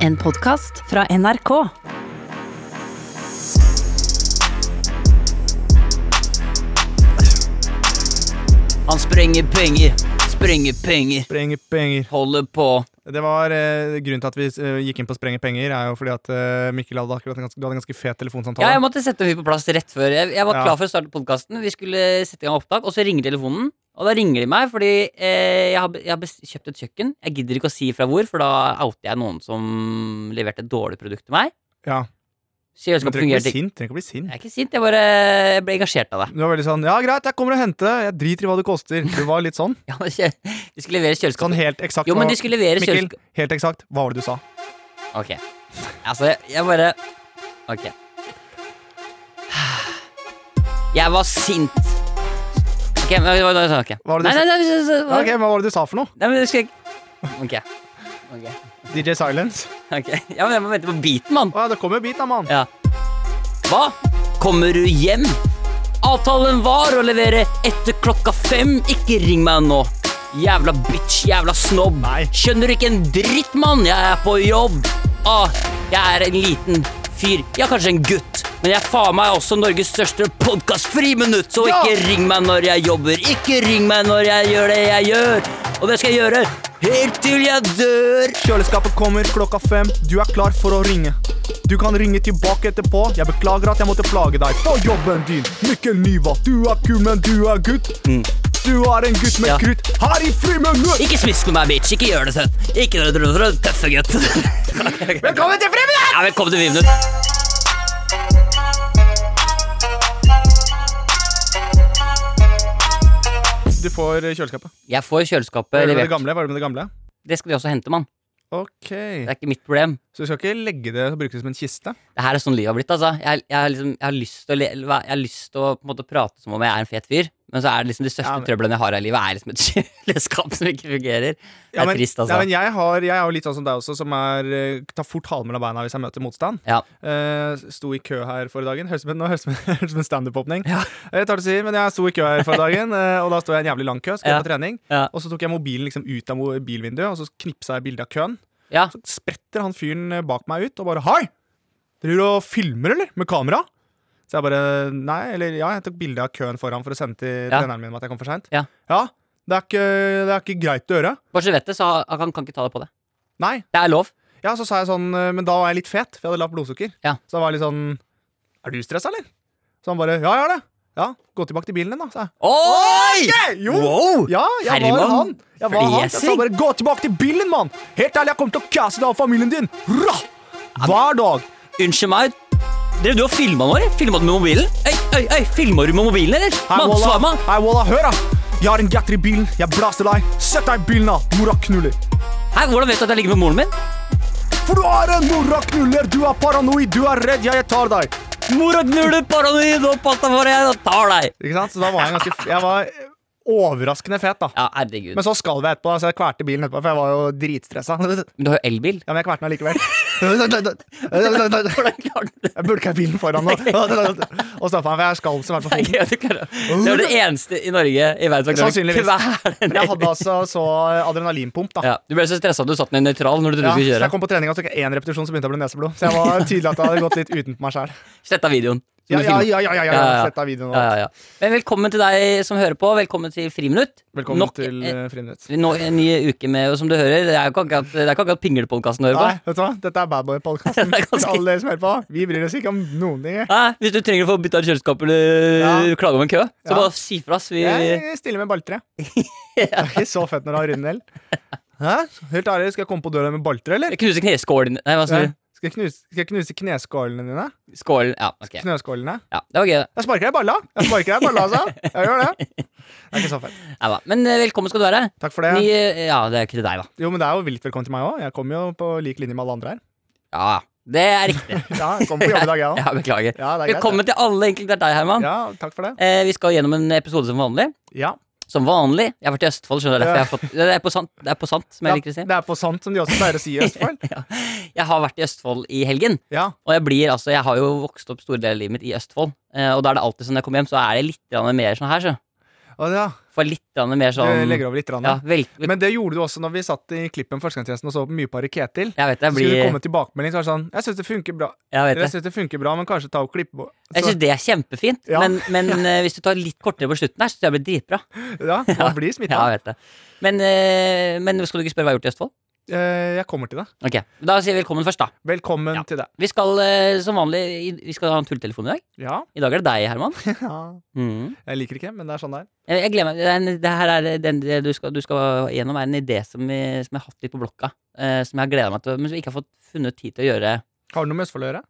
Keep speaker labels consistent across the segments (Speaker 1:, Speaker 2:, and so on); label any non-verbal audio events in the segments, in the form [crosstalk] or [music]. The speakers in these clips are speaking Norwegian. Speaker 1: En podkast fra NRK.
Speaker 2: Han sprenger penger, sprenger penger,
Speaker 3: Sprenge penger.
Speaker 2: holder på.
Speaker 3: Det var eh, Grunnen til at vi eh, gikk inn på sprenge penger, er jo fordi at eh, Mikkel hadde akkurat en ganske, du hadde en ganske fet telefonsamtale.
Speaker 2: Ja, jeg måtte sette fyr på plass rett før. Jeg, jeg var
Speaker 3: Ja.
Speaker 2: klar for å starte podkasten. Vi skulle sette i gang opptak, og så ringer telefonen. Og da ringer de meg, fordi eh, jeg har, be- jeg har bes- kjøpt et kjøkken. Jeg gidder ikke å si fra hvor, for da outer jeg noen som leverte et dårlig produkt til meg.
Speaker 3: Ja.
Speaker 2: Så
Speaker 3: Men
Speaker 2: kjøleskapet
Speaker 3: trenger ikke
Speaker 2: fungerte ikke.
Speaker 3: bli sint. Trenger ikke bli sint.
Speaker 2: Jeg er ikke sint, jeg bare jeg ble engasjert av det. [laughs]
Speaker 3: Du var veldig sånn Ja, greit, jeg kommer og henter det. Jeg driter i hva det koster. Du var litt sånn.
Speaker 2: Ja, men kjø- de skulle levere
Speaker 3: Sånn
Speaker 2: kjøleskapet.
Speaker 3: helt eksakt.
Speaker 2: Jo, men
Speaker 3: hva-
Speaker 2: de skulle levere
Speaker 3: Mikkel,
Speaker 2: kjøleskapet.
Speaker 3: helt eksakt. Hva var det du sa?
Speaker 2: Ok. Altså, jeg, jeg bare Ok. Jeg var sint. Ok, men hva var det du sa? Ok.
Speaker 3: Hva var det du
Speaker 2: Nei,
Speaker 3: sa?
Speaker 2: nei, nei, så- så-
Speaker 3: Ok, men Hva var det du sa for noe?
Speaker 2: nei, men det skal jeg Ok. Ok.
Speaker 3: DJ Silence?
Speaker 2: ok Ja, men jeg må vente på beaten, mann.
Speaker 3: Å ja, det kommer bit da, mann.
Speaker 2: Ja. Hva? Kommer du hjem? Avtalen var å levere etter klokka fem. Ikke ring meg nå. Jævla bitch, jævla snobb.
Speaker 3: Nei.
Speaker 2: Skjønner du ikke en dritt, mann? Jeg er på jobb. Ah, jeg er en liten fyr. Ja, kanskje en gutt. Men jeg er faen meg også Norges største podkastfriminutt, så
Speaker 3: Ja!
Speaker 2: ikke ring meg når jeg jobber. Ikke ring meg når jeg gjør det jeg gjør. Og det skal jeg gjøre helt til jeg dør.
Speaker 3: Kjøleskapet kommer klokka fem. Du er klar for å ringe. Du kan ringe tilbake etterpå. Jeg beklager at jeg måtte plage deg på jobben din. Mikkel Niva, du er kul, men du er gutt. Du er en gutt
Speaker 2: Mm. Ja.
Speaker 3: med krutt. Her i friminutt!
Speaker 2: Ikke smisk med meg, bitch. Ikke gjør det søtt. Ikke gjør det rød, rød, tøffe gutt. [laughs]
Speaker 3: Velkommen til friminutt!
Speaker 2: Ja, velkommen til Vivnut.
Speaker 3: Du får eh, kjøleskapet.
Speaker 2: Jeg får
Speaker 3: Hva
Speaker 2: kjøleskapet
Speaker 3: er det med det
Speaker 2: levert.
Speaker 3: gamle? Hva er det med det gamle?
Speaker 2: Det skal de også hente, mann.
Speaker 3: Ok.
Speaker 2: Det er ikke mitt problem.
Speaker 3: Så du skal ikke legge det og bruke det som en kiste?
Speaker 2: Det her er sånn livet har blitt, altså. Jeg, jeg, har liksom, jeg, har lyst til å, le- eller hva- jeg har lyst til å på en måte prate som om jeg er en fet fyr, men så er det liksom de største
Speaker 3: Ja, men-
Speaker 2: trøblene jeg har her i livet, er liksom et [laughs] kjøleskap som ikke fungerer. Det
Speaker 3: Ja,
Speaker 2: er
Speaker 3: men,
Speaker 2: trist, altså.
Speaker 3: ja, men jeg, har, jeg er jo litt sånn som deg også, som er, eh, tar fort halen mellom beina hvis jeg møter motstand.
Speaker 2: Ja.
Speaker 3: Eh, sto i kø her forrige dagen. Høres ut som en- nå høres det ut som en [laughs] standup-åpning.
Speaker 2: Ja.
Speaker 3: Jeg tar det å si, men jeg sto i kø her forrige dagen, eh, og da sto jeg i en jævlig lang kø. Skulle
Speaker 2: Ja.
Speaker 3: på trening.
Speaker 2: Ja.
Speaker 3: Og så tok jeg mobilen liksom ut av mo- bilvinduet, og så knipsa jeg bilde av køen.
Speaker 2: Ja.
Speaker 3: Så spretter han fyren eh, bak meg ut og bare 'Hei! Driver og filmer, eller? Med kamera?' Så jeg bare Nei, eller ja, jeg tok bilde av køen foran for å sende til
Speaker 2: Ja.
Speaker 3: treneren min om at jeg kom for seint.
Speaker 2: Ja.
Speaker 3: det, er ikke, det er ikke greit å gjøre.
Speaker 2: Bare så du vet det, så har- han kan ikke ta det på deg.
Speaker 3: Nei,
Speaker 2: Det er lov.
Speaker 3: ja, så sa jeg sånn eh, Men da var jeg litt fet, for jeg hadde lavt blodsukker.
Speaker 2: Ja.
Speaker 3: Så da var jeg litt sånn Er du stressa, eller? Så han bare Ja, jeg er det. Ja, gå tilbake til bilen din, da, sa jeg.
Speaker 2: Oi!
Speaker 3: Ok, jo!
Speaker 2: Wow!
Speaker 3: Ja, jeg var
Speaker 2: Herman
Speaker 3: han. Jeg var han. Jeg sa
Speaker 2: Flesing.
Speaker 3: bare gå tilbake til bilen, mann! Helt ærlig, jeg kommer til å casse deg og familien din! Hurra! Hver dag.
Speaker 2: Unnskyld meg. Drev du og filma nå, eller? Filma du med mobilen? Øy, øy, øy, filma du med mobilen, eller? Mann,
Speaker 3: Walla.
Speaker 2: svar meg.
Speaker 3: Hei, Walla, hør, da! Jeg har en gatter i bilen. Jeg blaster deg. Sett deg i bilen, da! Moraknuller.
Speaker 2: Hæ, hvordan vet du at jeg ligger med moren min?
Speaker 3: For du er en moraknuller! Du er paranoid, du er redd, jeg tar deg!
Speaker 2: Mora knuller paranoid og pass deg for jeg og tar deg.
Speaker 3: Ikke sant? Så da var jeg ganske Jeg var overraskende fet, da.
Speaker 2: Ja, herregud.
Speaker 3: Men så skalv jeg etterpå, da, så jeg kvalte bilen etterpå, for jeg var jo dritstressa. [laughs] Ja,
Speaker 2: Men du har jo [laughs] elbil.
Speaker 3: men jeg kvalte den allikevel.
Speaker 2: Hvordan klarer du det?
Speaker 3: Jeg bulka bilen
Speaker 2: [laughs]
Speaker 3: foran nå. Og stoppa han, for jeg skalv som hvert fall.
Speaker 2: Gøy at du klarer det. Det er det eneste i Norge i verden som klarer
Speaker 3: Sannsynligvis.
Speaker 2: å kvele en
Speaker 3: Men jeg
Speaker 2: elbil.
Speaker 3: hadde altså så adrenalinpump, da.
Speaker 2: Ja, du ble så stressa at du satt den i nøytral når du trodde
Speaker 3: Ja,
Speaker 2: du
Speaker 3: så
Speaker 2: skulle
Speaker 3: jeg
Speaker 2: kjøre.
Speaker 3: kom på trening og tok én repetisjon, så begynte jeg å bli neseblod. Så jeg var tydelig at jeg hadde gått litt utenpå meg sjæl.
Speaker 2: Sletta videoen. som
Speaker 3: Ja,
Speaker 2: du
Speaker 3: ja,
Speaker 2: filmet.
Speaker 3: ja, ja, ja, ja,
Speaker 2: Ja, ja.
Speaker 3: Sett av videoen.
Speaker 2: Ja,
Speaker 3: nå.
Speaker 2: ja, ja. Men velkommen til deg som hører på. Velkommen til Friminutt.
Speaker 3: Velkommen
Speaker 2: Nok
Speaker 3: til
Speaker 2: en-
Speaker 3: eh, Friminutt.
Speaker 2: Nå, en ny uke med, og som du hører, det er jo ikke akkurat, det er ikke akkurat pinglepodkasten du hører på.
Speaker 3: Nei, vet du hva? Dette er
Speaker 2: [laughs]
Speaker 3: Badboy-podkasten.
Speaker 2: Det er ganske-
Speaker 3: Alle dere som hører på, vi bryr oss ikke om noen ting. jeg.
Speaker 2: Nei, hvis du trenger å få bytta kjøleskap eller
Speaker 3: Ja.
Speaker 2: klage om en kø, så
Speaker 3: Ja.
Speaker 2: bare si fra oss. Vi,
Speaker 3: Jeg stiller med
Speaker 2: [laughs]
Speaker 3: balltre. Det er ikke så fett når du har rundel. Hæ? Helt ærlig, skal jeg komme på døra med balltre, eller?
Speaker 2: Jeg knuser kneskålen Nei, hva
Speaker 3: Nei.
Speaker 2: sier du?
Speaker 3: Skal jeg knuse, skal jeg knuse kneskålene dine?
Speaker 2: Skålen. Ja, ok.
Speaker 3: Knøskålene?
Speaker 2: Ja, det var gøy, det.
Speaker 3: Jeg sparker deg i balla! Jeg sparker deg i balla, altså! Jeg gjør det. Det er ikke så fett.
Speaker 2: Nei da. Men eh, velkommen skal du være.
Speaker 3: Takk for det.
Speaker 2: Ny, eh, ja, det er jo ikke til deg, da.
Speaker 3: Jo, men det er jo vilt velkommen til meg òg. Jeg kommer jo på lik linje med alle andre her.
Speaker 2: Ja, det er
Speaker 3: [laughs]
Speaker 2: riktig.
Speaker 3: Ja, jeg kommer på jobb i dag, jeg
Speaker 2: [laughs]
Speaker 3: òg.
Speaker 2: Ja, Beklager.
Speaker 3: Ja, det er greit.
Speaker 2: Velkommen til alle, egentlig. Det er deg,
Speaker 3: det.
Speaker 2: Herman.
Speaker 3: Ja, takk for det.
Speaker 2: Eh, vi skal gjennom en episode som vanlig.
Speaker 3: Ja.
Speaker 2: Som vanlig. Jeg har vært i Østfold, skjønner du. derfor Jeg har fått, det er på sant, det er på sant som
Speaker 3: ja.
Speaker 2: jeg liker å si.
Speaker 3: Det er på sant, som de også pleier å si
Speaker 2: [laughs]
Speaker 3: i Østfold.
Speaker 2: Jeg har vært i Østfold i helgen.
Speaker 3: Ja.
Speaker 2: Og jeg blir altså Jeg har jo vokst opp store deler av livet mitt i Østfold. Eh, og da er det alltid sånn når jeg kommer hjem, så er det litt grann mer sånn her, så.
Speaker 3: Og ja,
Speaker 2: Få litt grann mer
Speaker 3: du
Speaker 2: sånn
Speaker 3: legger over litt. Rann,
Speaker 2: ja, vel,
Speaker 3: Men det gjorde du også når vi satt i klippen førstegangstjenesten og så mye på Ketil.
Speaker 2: Jeg vet det. Jeg
Speaker 3: Så skulle det
Speaker 2: blir
Speaker 3: komme tilbakemelding, så var det sånn Jeg syns det funker bra,
Speaker 2: Jeg vet det.
Speaker 3: jeg synes det funker bra men kanskje ta og klippe på
Speaker 2: Jeg
Speaker 3: så,
Speaker 2: syns det er kjempefint,
Speaker 3: Ja.
Speaker 2: men, men eh, hvis du tar litt kortere på slutten her, så tror jeg det blir dritbra. [laughs]
Speaker 3: Ja, man blir smitta.
Speaker 2: Ja, jeg vet det. Men, eh, men skal du ikke spørre hva jeg har gjort i Østfold?
Speaker 3: Eh, jeg kommer til det.
Speaker 2: Ok, Da sier vi velkommen først, da.
Speaker 3: Velkommen
Speaker 2: Ja.
Speaker 3: til deg.
Speaker 2: Vi skal eh, som vanlig i- Vi skal ha en tulletelefon i dag.
Speaker 3: Ja.
Speaker 2: I dag er det deg, Herman. Mhm.
Speaker 3: Jeg liker ikke, men det er sånn det er.
Speaker 2: Jeg, jeg gleder meg. Det, er en, det her er den det du skal, du skal gjennom, er en idé som, vi, som jeg har hatt litt på blokka. eh, som jeg har gleda meg til, men som jeg ikke har fått funnet tid til å gjøre.
Speaker 3: Har du noe med Østfold å gjøre?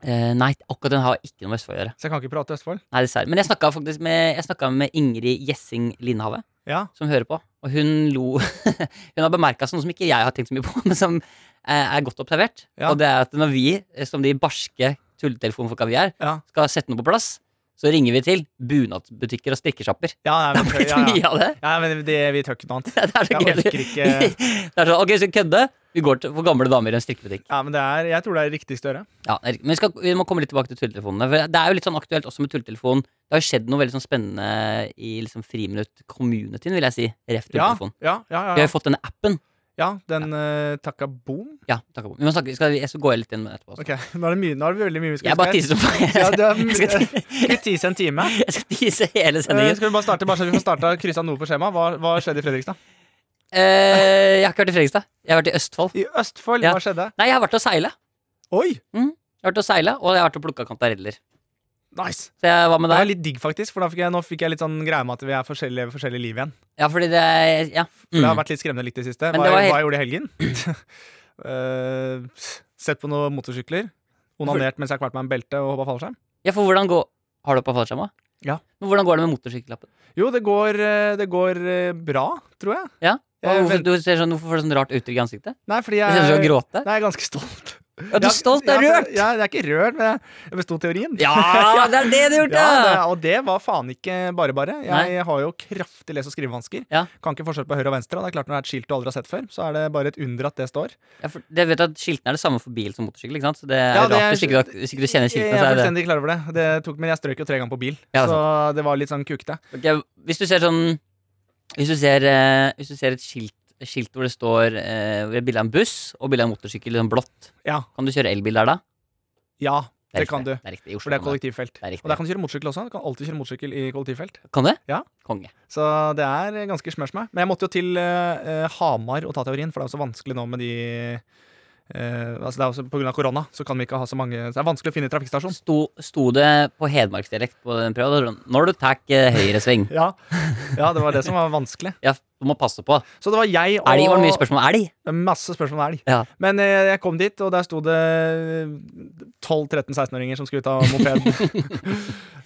Speaker 2: Eh, nei, akkurat den har ikke noe med Østfold å gjøre.
Speaker 3: Så jeg kan ikke prate Østfold?
Speaker 2: Nei, dessverre. Men jeg snakka faktisk med, jeg snakket med Ingrid Gjessing Lindhave.
Speaker 3: Ja.
Speaker 2: som hører på, og hun lo [laughs] Hun har bemerka noe som ikke jeg har tenkt så mye på, [laughs] men som eh, er godt observert.
Speaker 3: Ja.
Speaker 2: Og det er at når vi, eh, som de barske tulletelefonfolka vi er,
Speaker 3: Ja.
Speaker 2: skal sette noe på plass, så ringer vi til bunadsbutikker og strikkesjapper.
Speaker 3: Ja, nei,
Speaker 2: [laughs] Det
Speaker 3: men,
Speaker 2: er blitt
Speaker 3: ja, ja.
Speaker 2: mye av det.
Speaker 3: ja, men det, vi tør ikke noe annet.
Speaker 2: [laughs] Det er så
Speaker 3: Jeg
Speaker 2: gøy.
Speaker 3: orker ikke
Speaker 2: Det er sånn, ok, så kødde. Vi går til, for gamle damer i en strikkebutikk.
Speaker 3: Ja, men det er, Jeg tror det er riktig større.
Speaker 2: Ja, det er riktig. men vi, skal, vi må komme litt tilbake til tulletelefonene. For det er jo litt sånn aktuelt også med tulletelefon. Det har jo skjedd noe veldig sånn spennende i liksom friminutt-communityen, vil jeg si. Ref
Speaker 3: Ja,
Speaker 2: tulletelefon.
Speaker 3: ja, ja,
Speaker 2: Vi har
Speaker 3: ja,
Speaker 2: jo fått denne appen.
Speaker 3: ja. Den uh, takka boom.
Speaker 2: Ja, takk for. Vi må snakke, skal, vi- jeg skal gå litt inn med det etterpå. også.
Speaker 3: Ok, [laughs] Nå er det mye, nå er det veldig mye vi skal
Speaker 2: Jeg bare tisser
Speaker 3: diskutere.
Speaker 2: på [laughs]
Speaker 3: Ja,
Speaker 2: jeg,
Speaker 3: det er,
Speaker 2: skal
Speaker 3: eh, skal [laughs] vi tise en time?
Speaker 2: skal tisse hele
Speaker 3: Eh,
Speaker 2: sendingen.
Speaker 3: skal vi bare starte, bare så vi får starta kryssa noe på skjemaet? Hva, hva skjedde i Fredrikstad?
Speaker 2: Eh, jeg har ikke vært i Fredrikstad. Jeg har vært i Østfold.
Speaker 3: I Østfold,
Speaker 2: Ja.
Speaker 3: hva skjedde?
Speaker 2: Nei, jeg har vært og seile.
Speaker 3: Oi!
Speaker 2: Jeg har vært og seile, Og jeg har vært og plukka kantareller.
Speaker 3: Nice!
Speaker 2: Så jeg var med
Speaker 3: Det var
Speaker 2: der.
Speaker 3: litt digg, faktisk. For da fikk jeg, nå fikk jeg litt sånn greie med at vi er forskjellige, forskjellige liv igjen.
Speaker 2: Ja, fordi det Ja.
Speaker 3: For Det har
Speaker 2: Mm.
Speaker 3: vært litt skremmende litt i det siste.
Speaker 2: Men
Speaker 3: Hva,
Speaker 2: det var helt-
Speaker 3: hva jeg gjorde i helgen? [laughs] Eh, sett på noen motorsykler. Onanert mens jeg har kvalt meg en belte og hoppa fallskjerm.
Speaker 2: ja for hvordan går Har du på fallskjerma?
Speaker 3: Ja.
Speaker 2: Men hvordan går det med motorsykkellappen?
Speaker 3: Jo, det går, eh, det går eh, bra, tror jeg.
Speaker 2: Ja?
Speaker 3: Jeg
Speaker 2: Og Hvorfor,
Speaker 3: vent-
Speaker 2: du ser sånn, hvorfor får du sånn rart uttrykk i ansiktet?
Speaker 3: Nei, fordi
Speaker 2: Du
Speaker 3: jeg
Speaker 2: ser ut som du skal gråte.
Speaker 3: Nei, jeg er ganske stolt.
Speaker 2: Ja, du er stolt, du er
Speaker 3: Jeg-
Speaker 2: rørt!
Speaker 3: Jeg, jeg, jeg er ikke rørt, men jeg, jeg besto teorien.
Speaker 2: Ja, det er det du har gjort,
Speaker 3: Ja, det,
Speaker 2: ja!
Speaker 3: og det var faen ikke bare bare. Jeg
Speaker 2: Nei.
Speaker 3: har jo kraftig lese- og skrivevansker.
Speaker 2: Ja.
Speaker 3: Kan ikke forskjell på høyre og venstre. Og det er klart Når det er et skilt du aldri har sett før, så er det bare et under at det står.
Speaker 2: Ja, for Jeg vet at Skiltene er det samme for bil som motorsykkel. ikke sant? Så det er
Speaker 3: Ja, det
Speaker 2: rart
Speaker 3: er-
Speaker 2: hvis ikke, du, hvis ikke du kjenner
Speaker 3: Jeg
Speaker 2: skiltene. Så
Speaker 3: er
Speaker 2: er det
Speaker 3: fullstendig klar over det. det tok, men jeg strøk jo tre ganger på bil,
Speaker 2: Ja, altså.
Speaker 3: så det var litt sånn kukete.
Speaker 2: Ok, Hvis du ser sånn Hvis du ser, eh, hvis du ser et skilt, et skilt hvor det står eh, hvor det er bilde av en buss og bilde av en motorsykkel sånn blått,
Speaker 3: Ja.
Speaker 2: kan du kjøre elbil der da?
Speaker 3: Ja, det
Speaker 2: riktig,
Speaker 3: kan du.
Speaker 2: Det er riktig. I
Speaker 3: For
Speaker 2: Oslo
Speaker 3: det er
Speaker 2: kan du.
Speaker 3: kollektivfelt.
Speaker 2: Det er
Speaker 3: Og
Speaker 2: riktig.
Speaker 3: der kan du kjøre motorsykkel også. Du kan alltid kjøre motorsykkel i kollektivfelt.
Speaker 2: Kan du?
Speaker 3: Ja.
Speaker 2: Konge.
Speaker 3: Så det er ganske smørs meg. Men jeg måtte jo til eh, eh, Hamar og ta teorien, for det er jo så vanskelig nå med de eh, altså det er også På grunn av korona så kan vi ikke ha så mange så Det er vanskelig å finne trafikkstasjon.
Speaker 2: Sto, sto det på hedmarksdialekt på den prøven? Når du tar eh, høyresving.
Speaker 3: [laughs] Ja. ja, det var det som var vanskelig.
Speaker 2: Ja, du må passe på.
Speaker 3: Så det var jeg og
Speaker 2: Elg var det mye spørsmål om elg.
Speaker 3: Masse spørsmål om elg.
Speaker 2: Ja.
Speaker 3: Men eh, jeg kom dit, og der sto det 12-13-16-åringer som skulle ta moped. [laughs]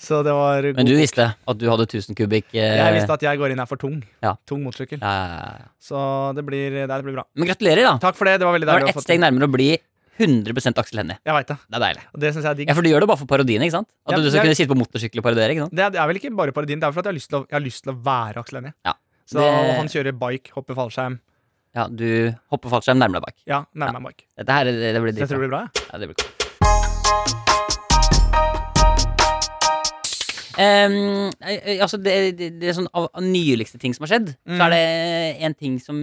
Speaker 3: så det var god
Speaker 2: Men du visste at du hadde 1000 kubikk eh,
Speaker 3: Jeg visste at jeg går inn her for tung.
Speaker 2: Ja.
Speaker 3: Tung motorsykkel.
Speaker 2: ja, ja, ja.
Speaker 3: Så det blir, nei, det blir bra.
Speaker 2: Men gratulerer, da.
Speaker 3: Takk for det. Det var veldig
Speaker 2: Du er
Speaker 3: deilig.
Speaker 2: det
Speaker 3: å
Speaker 2: ett
Speaker 3: få
Speaker 2: steg
Speaker 3: til.
Speaker 2: nærmere å bli 100 Aksel Hennie.
Speaker 3: Jeg veit det.
Speaker 2: Det er deilig.
Speaker 3: Og det syns jeg er digg.
Speaker 2: Ja, For du gjør det bare for parodien, ikke sant? At
Speaker 3: Ja,
Speaker 2: du skal
Speaker 3: jeg-
Speaker 2: kunne sitte på motorsykkel og parodiere, ikke sant?
Speaker 3: Det er, det er vel ikke bare parodien, det er for at jeg har lyst til å, jeg har lyst til å være Aksel Hennie.
Speaker 2: Ja.
Speaker 3: Så
Speaker 2: Det-
Speaker 3: han kjører bike, hopper fallskjerm.
Speaker 2: Ja, du hopper fallskjerm nærmere bak.
Speaker 3: Ja, nærmer meg bike.
Speaker 2: Dette her, det, det blir
Speaker 3: Så jeg tror
Speaker 2: dritbra.
Speaker 3: det blir bra. jeg.
Speaker 2: Ja, det blir cool. Ehm, eh, eh, altså det, det, det er sånn av, av nyligste ting som har skjedd, så
Speaker 3: Mm.
Speaker 2: er det en ting som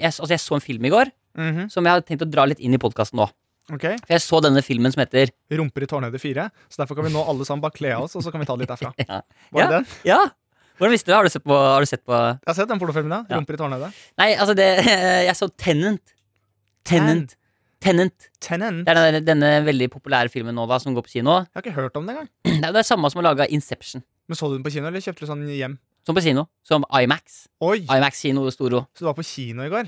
Speaker 2: jeg, s- Altså, jeg så en film i går
Speaker 3: Mhm.
Speaker 2: som jeg hadde tenkt å dra litt inn i podkasten nå.
Speaker 3: Ok.
Speaker 2: For jeg så denne filmen som heter
Speaker 3: Rumper i tårnhøyde fire. Så derfor kan vi nå alle sammen bare kle av oss, og så kan vi ta det litt derfra.
Speaker 2: [laughs] Ja.
Speaker 3: Var
Speaker 2: Ja.
Speaker 3: det den?
Speaker 2: Ja! Hvordan visste du det? Har du sett på, har du sett på
Speaker 3: Jeg har sett den pornofilmen, ja.
Speaker 2: Ja.
Speaker 3: Rumper i tårnhøyde.
Speaker 2: Nei, altså, det [laughs] Jeg så Tenant. Tenant. Tenant.
Speaker 3: Tennen.
Speaker 2: Det er denne, denne veldig populære filmen nå da som går på kino. [clears throat]
Speaker 3: Jeg har ikke hørt om den engang.
Speaker 2: Det er jo det samme som har laga Inception.
Speaker 3: Men så du den på kino, eller kjøpte du sånn hjem?
Speaker 2: Som på kino. Som Imax.
Speaker 3: Oi,
Speaker 2: Imax kino Storo.
Speaker 3: så du var på kino i går?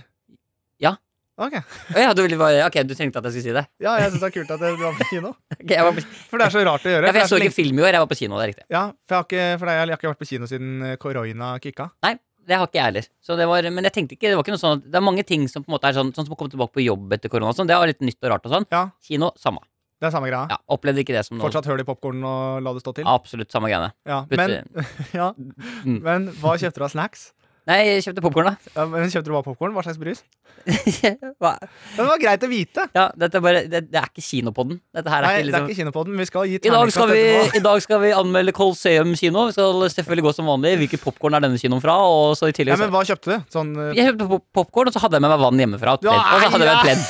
Speaker 2: Ja.
Speaker 3: Ok.
Speaker 2: Å ja, du ville bare, ok, du trengte at jeg skulle si det. [laughs]
Speaker 3: Ja, jeg syns det er kult at du var på kino.
Speaker 2: Ok, jeg, var på,
Speaker 3: For det er så rart å gjøre.
Speaker 2: ja, for
Speaker 3: det er
Speaker 2: jeg så
Speaker 3: lenge-
Speaker 2: ikke film i år. Jeg var på kino. det er riktig
Speaker 3: Ja, for jeg har ikke, for jeg har ikke vært på kino siden eh, korona kicka.
Speaker 2: Nei, det har ikke jeg heller. Så det var, men jeg tenkte ikke, det var ikke noe sånn at- Det er mange ting som på en måte er sånn Sånn som å komme tilbake på jobb etter korona. og Sånn, det var litt nytt og rart. og sånn
Speaker 3: Ja,
Speaker 2: Kino, samme.
Speaker 3: det er samme greia.
Speaker 2: Ja, Opplevde ikke det som noe
Speaker 3: Fortsatt høl i popkornen og la det stå til.
Speaker 2: Absolutt samme greiene.
Speaker 3: [laughs] Ja,
Speaker 2: Putte-
Speaker 3: men, ja.
Speaker 2: Mm.
Speaker 3: men hva kjøpte du av snacks?
Speaker 2: Nei, jeg kjøpte popkorn, da. [laughs]
Speaker 3: Ja, men Kjøpte du bare popkorn? Hva slags brus?
Speaker 2: Hva?
Speaker 3: Men Det var greit å vite.
Speaker 2: Ja, dette er bare, det, det er ikke kinopodden. Dette her er
Speaker 3: Nei,
Speaker 2: ikke
Speaker 3: det er
Speaker 2: liksom
Speaker 3: ikke kinopodden. Vi skal
Speaker 2: i
Speaker 3: gi
Speaker 2: dag, skal
Speaker 3: terningkast
Speaker 2: vi,
Speaker 3: etterpå.
Speaker 2: I dag skal vi anmelde Colosseum kino. Vi skal selvfølgelig gå som vanlig. Hvilken popkorn er denne kinoen fra? Og så i tillegg
Speaker 3: Ja,
Speaker 2: så-
Speaker 3: men hva kjøpte du? Sånn eh,
Speaker 2: Jeg kjøpte pop- popcorn, og så hadde jeg med meg vann hjemmefra. Og, et pledd. og så hadde jeg med et pledd.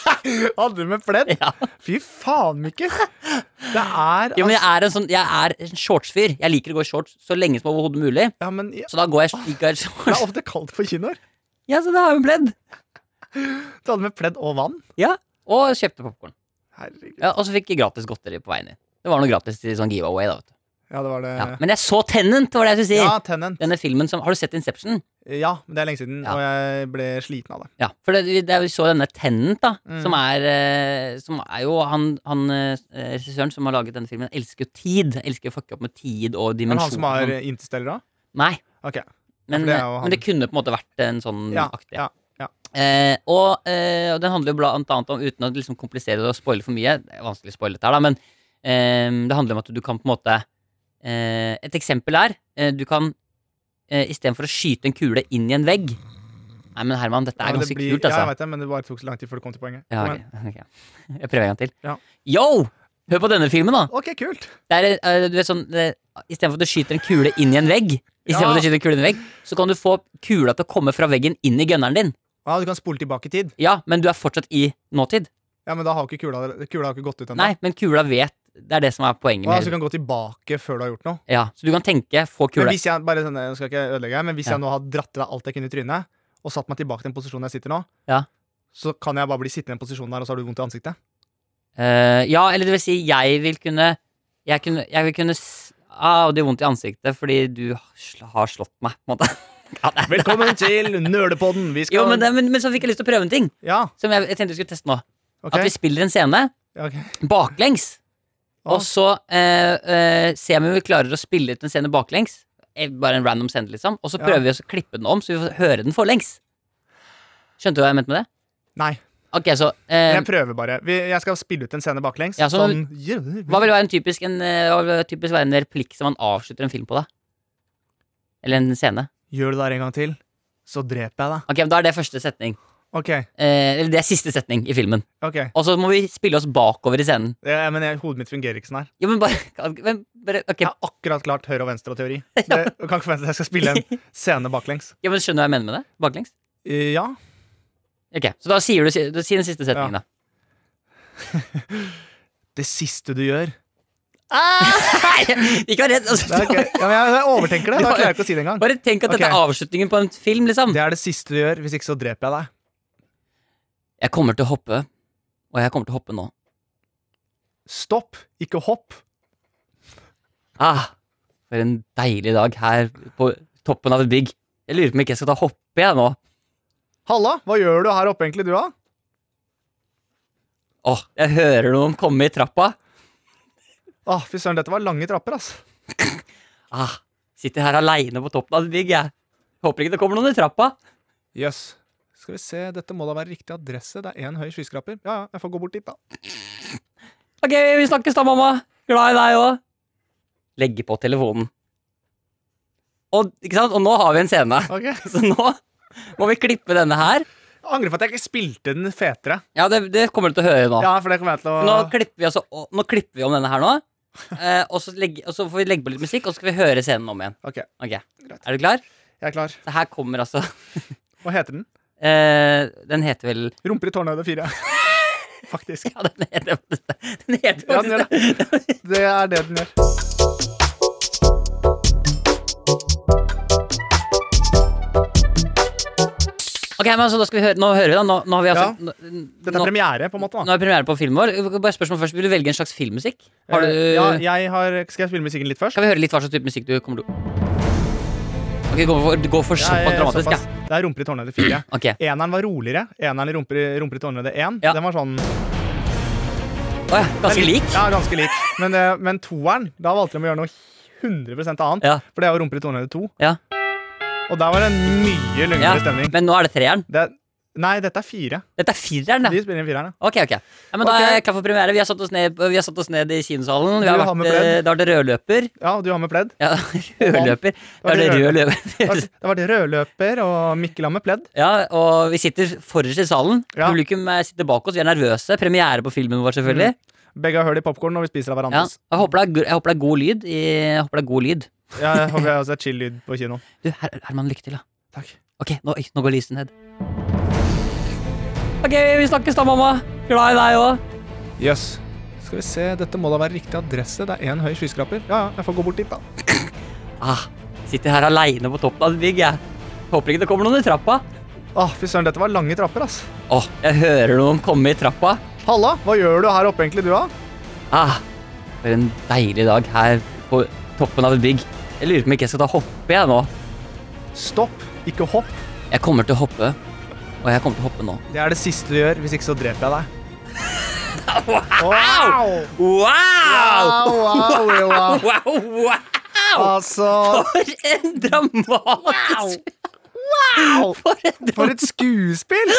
Speaker 3: [laughs] Hadde du med pledd?
Speaker 2: Ja.
Speaker 3: Fy faen, Mikkel. Det er
Speaker 2: Jo, men jeg er en sånn Jeg er en shortsfyr. Jeg liker å gå i shorts så lenge som overhodet mulig.
Speaker 3: Ja, men ja,
Speaker 2: Så da går jeg ikke i
Speaker 3: det er
Speaker 2: shorts.
Speaker 3: ofte kaldt på kinoer.
Speaker 2: Ja, så da har jeg en pledd.
Speaker 3: Du hadde med pledd og vann.
Speaker 2: Ja. Og kjøpte popkorn.
Speaker 3: Herregud.
Speaker 2: Ja, og så fikk jeg gratis godteri på veien inn. Det var noe gratis i sånn giveaway, da. Vet du.
Speaker 3: Ja, det var det.
Speaker 2: Ja. Men jeg så Tenant, var det jeg skulle si.
Speaker 3: Ja, Tenant.
Speaker 2: Denne filmen som Har du sett Inception?
Speaker 3: Ja, men det er lenge siden,
Speaker 2: Ja.
Speaker 3: og jeg ble sliten av det.
Speaker 2: Ja. For det, det, vi så denne Tenant, da,
Speaker 3: Mm.
Speaker 2: som er eh, Som er jo han, han eh, regissøren som har laget denne filmen, elsker jo tid. Elsker å fucke opp med tid og
Speaker 3: Men
Speaker 2: dimensjoner.
Speaker 3: han som har Interstellar òg?
Speaker 2: Nei.
Speaker 3: Ok.
Speaker 2: Men,
Speaker 3: for det er jo han.
Speaker 2: men det kunne på en måte vært en sånn
Speaker 3: Ja,
Speaker 2: aktig.
Speaker 3: ja, ja.
Speaker 2: Eh, og, eh, og den handler jo blant annet om, uten å liksom komplisere det og spoile for mye Det er vanskelig å spoile dette her, da, men eh, det handler om at du kan på en måte eh, Et eksempel er eh, du kan eh, istedenfor å skyte en kule inn i en vegg Nei, men Herman, dette
Speaker 3: Ja,
Speaker 2: er
Speaker 3: men
Speaker 2: ganske
Speaker 3: blir-
Speaker 2: kult,
Speaker 3: Ja, jeg
Speaker 2: altså.
Speaker 3: vet det, men det bare tok så lang tid før du kom til poenget.
Speaker 2: Ja, [laughs]
Speaker 3: Men-
Speaker 2: ok, ok. Jeg prøver en gang til.
Speaker 3: Ja.
Speaker 2: Yo! Hør på denne filmen, da!
Speaker 3: Ok, kult.
Speaker 2: Det er, eh, du vet sånn eh, Istedenfor at du skyter en kule inn i en vegg, i stedet for at du
Speaker 3: Ja.
Speaker 2: skyter en kule inn i en vegg så kan du få kula til å komme fra veggen inn i gunneren din.
Speaker 3: Ja, Du kan spole tilbake i tid.
Speaker 2: Ja, men du er fortsatt i nåtid.
Speaker 3: Ja, Men da har ikke kula, kula har ikke gått ut ennå.
Speaker 2: Nei, men kula vet Det er det som er poenget.
Speaker 3: Ja, så du
Speaker 2: Med.
Speaker 3: kan gå tilbake før du har gjort noe.
Speaker 2: Ja, så du kan tenke få
Speaker 3: Men
Speaker 2: kula
Speaker 3: hvis jeg bare sånn, jeg skal ikke ødelegge her, men hvis
Speaker 2: Ja.
Speaker 3: jeg nå har dratt til deg alt jeg kunne i trynet, og satt meg tilbake til den posisjonen jeg sitter nå,
Speaker 2: Ja.
Speaker 3: så kan jeg bare bli sittende i den posisjonen der, og så har du vondt i ansiktet?
Speaker 2: Eh, Ja, eller det vil si, jeg vil kunne Jeg, kunne, jeg vil kunne s- Au, det gjør vondt i ansiktet fordi du sl- har slått meg, på en måte. [laughs] Ja, det er-
Speaker 3: Velkommen til Nølepodden! Vi skal
Speaker 2: Jo, men, det, men, men så fikk jeg lyst til å prøve en ting
Speaker 3: Ja,
Speaker 2: som jeg, jeg tenkte vi skulle teste nå.
Speaker 3: ok.
Speaker 2: At vi spiller en scene
Speaker 3: Ja, ok.
Speaker 2: baklengs,
Speaker 3: Ah.
Speaker 2: og så eh, eh, ser vi om vi klarer å spille ut en scene baklengs. Eh, Bare en random scene, liksom. Og så
Speaker 3: Ja.
Speaker 2: prøver vi også å klippe den om, så vi får høre den forlengs. Skjønte du hva jeg mente med det?
Speaker 3: Nei,
Speaker 2: Ok, så eh,
Speaker 3: jeg prøver bare. Vi, jeg skal spille ut en scene baklengs.
Speaker 2: Ja, så-
Speaker 3: sånn
Speaker 2: Hva vil være en typisk, en, eh, hva vil typisk være en replikk som man avslutter en film på, da? Eller en scene?
Speaker 3: Gjør du det der en gang til, så dreper jeg deg.
Speaker 2: Ok, men Da er det første setning.
Speaker 3: Ok,
Speaker 2: Eh, eller det er siste setning i filmen.
Speaker 3: ok.
Speaker 2: Og så må vi spille oss bakover i scenen.
Speaker 3: Ja, men jeg, hodet mitt fungerer ikke sånn her.
Speaker 2: Jo, men bare, [laughs] men bare Ok,
Speaker 3: Jeg har akkurat klart høyre- og venstreteori.
Speaker 2: [laughs]
Speaker 3: Det- Du kan ikke forvente at jeg skal spille en scene baklengs.
Speaker 2: ja, men Skjønner du hva jeg mener med det? Baklengs?
Speaker 3: Eh, Ja.
Speaker 2: Ok, Så da sier du, du sier den siste setningen, da.
Speaker 3: Det siste du gjør.
Speaker 2: Nei, [laughs] ikke vær redd. Altså,
Speaker 3: Ah! Det er, ok. ja, men jeg, jeg overtenker det. Da klarer jeg ikke å si det engang.
Speaker 2: Bare tenk at dette
Speaker 3: Ok.
Speaker 2: er avslutningen på en film, liksom.
Speaker 3: Det er det siste du gjør. Hvis ikke, så dreper jeg deg.
Speaker 2: Jeg kommer til å hoppe, og jeg kommer til å hoppe nå.
Speaker 3: Stopp, ikke hopp.
Speaker 2: Ah, for en deilig dag her på toppen av et bygg. Jeg lurer på om ikke jeg skal ta hoppe jeg nå.
Speaker 3: Halla, hva gjør du her oppe egentlig, du, da?
Speaker 2: Åh, jeg hører noen komme i trappa.
Speaker 3: Åh, Ah, Fy søren, dette var lange trapper, ass.
Speaker 2: Ah, sitter her aleine på toppen av et bygg, jeg. Håper ikke det kommer noen i trappa.
Speaker 3: Jøss. Skal vi se, dette må da være riktig adresse. Det er én høy skyskraper. Ja ja, jeg får gå bort dit, da.
Speaker 2: Ok, vi snakkes da, mamma. Glad i deg òg. Legge på telefonen. Og, ikke sant? og nå har vi en scene. [laughs]
Speaker 3: [laughs] Ok Jeg
Speaker 2: Så nå må vi klippe denne her.
Speaker 3: Angrer på at jeg ikke spilte den fetere.
Speaker 2: Ja, det, det kommer du til å høre nå.
Speaker 3: Ja, for det kommer jeg til
Speaker 2: Ah. Nå
Speaker 3: å
Speaker 2: klipper vi, altså, å- nå klipper vi om denne her nå. Eh, og, så legge, og så får vi legge på litt musikk, og så skal vi høre scenen om igjen.
Speaker 3: Ok, jeg
Speaker 2: Ok,
Speaker 3: Greit.
Speaker 2: Er du klar?
Speaker 3: er klar.
Speaker 2: Så her kommer altså
Speaker 3: Hva heter den?
Speaker 2: eh, Den heter vel
Speaker 3: Rumper i tårnhøyde
Speaker 2: [laughs]
Speaker 3: 4. Faktisk.
Speaker 2: Ja, den heter faktisk det. Den heter
Speaker 3: Ja, den gjør
Speaker 2: faktisk det.
Speaker 3: Det er det den gjør.
Speaker 2: Ok, men altså, da skal vi høre, Nå hører vi, da. Nå, nå har vi altså
Speaker 3: Ja.
Speaker 2: nå,
Speaker 3: Dette er
Speaker 2: nå,
Speaker 3: premiere, på en måte.
Speaker 2: nå
Speaker 3: da
Speaker 2: er det premiere på filmen vår. Bare spørsmål først, Vil du velge en slags filmmusikk? Har du,
Speaker 3: Eh, Ja, jeg har Skal jeg spille musikken litt først?
Speaker 2: Skal vi høre litt hva slags type musikk du kommer til å Ok, gå for, gå for eh, såpass
Speaker 3: Nei,
Speaker 2: dramatisk,
Speaker 3: såpass. Det er Rumper i tårnhøyde 4.
Speaker 2: ja. Ok.
Speaker 3: Eneren var roligere. Eneren i Rumper i, rumper i tårnhøyde 1.
Speaker 2: Ja.
Speaker 3: Den var sånn
Speaker 2: Å ja, ganske lik?
Speaker 3: Ja, ganske lik. Men, eh, men toeren, da valgte de å gjøre noe 100 annet.
Speaker 2: Ja.
Speaker 3: For det er jo Rumper i tårnhøyde 2.
Speaker 2: Ja.
Speaker 3: Og der var det en mye
Speaker 2: ja.
Speaker 3: lengre stemning.
Speaker 2: Men nå er det treeren.
Speaker 3: Det, Nei, dette er fire.
Speaker 2: Dette er fireren, ja.
Speaker 3: De spiller inn fireren, ja.
Speaker 2: Ok, ok. Ja, men Da er jeg klar for premiere. Vi har satt oss ned, vi har satt oss ned i kinosalen. Vi har
Speaker 3: Du har
Speaker 2: vært,
Speaker 3: med
Speaker 2: eh,
Speaker 3: pledd.
Speaker 2: da var det rødløper.
Speaker 3: Ja, og du har med pledd.
Speaker 2: Ja, [laughs] rødløper. Da
Speaker 3: var
Speaker 2: er det
Speaker 3: det
Speaker 2: rød
Speaker 3: rødløper. Altså-
Speaker 2: løper.
Speaker 3: Det har vært rødløper, og Mikkel har med pledd.
Speaker 2: Ja, og vi sitter forrest i salen.
Speaker 3: Ja.
Speaker 2: Publikum eh, sitter bak oss. Vi er nervøse. Premiere på filmen vår, selvfølgelig.
Speaker 3: Mm, Begge har hull i popkorn, og vi spiser av
Speaker 2: Ja.
Speaker 3: hverandres.
Speaker 2: Jeg, håper det er, gr- jeg håper det er god lyd. I, jeg håper det er god lyd.
Speaker 3: Ja. Jeg håper jeg også er chill-lyd på kino.
Speaker 2: Du, Her- Herman, lykke til, da.
Speaker 3: Takk.
Speaker 2: Ok, nå, oi, nå går lyset ned. Ok, vi snakkes da, mamma. Glad i deg òg.
Speaker 3: Jøss. Yes. Skal vi se, dette må da være riktig adresse. Det er én høy skyskraper. Ja, ja, jeg får gå bort dit, da.
Speaker 2: Ah, sitter her aleine på toppen av et bygg, jeg. Håper ikke det kommer noen i trappa.
Speaker 3: Åh, Ah, fy søren, dette var lange trapper, ass.
Speaker 2: Åh, jeg hører noen komme i trappa.
Speaker 3: Halla, hva gjør du her oppe egentlig, du, da?
Speaker 2: Ah, for en deilig dag her på toppen av et bygg. Jeg lurer på om ikke jeg skal ta hoppe jeg nå.
Speaker 3: Stopp, ikke hopp.
Speaker 2: Jeg kommer til å hoppe, og jeg kommer til å hoppe nå.
Speaker 3: Det er det siste du gjør, hvis ikke så dreper jeg deg. Wow!
Speaker 2: Wow!
Speaker 3: Wow, wow, wow.
Speaker 2: Wow, wow!
Speaker 3: Altså
Speaker 2: For en dramatisk
Speaker 3: Wow!
Speaker 2: For en dra-
Speaker 3: For et skuespill!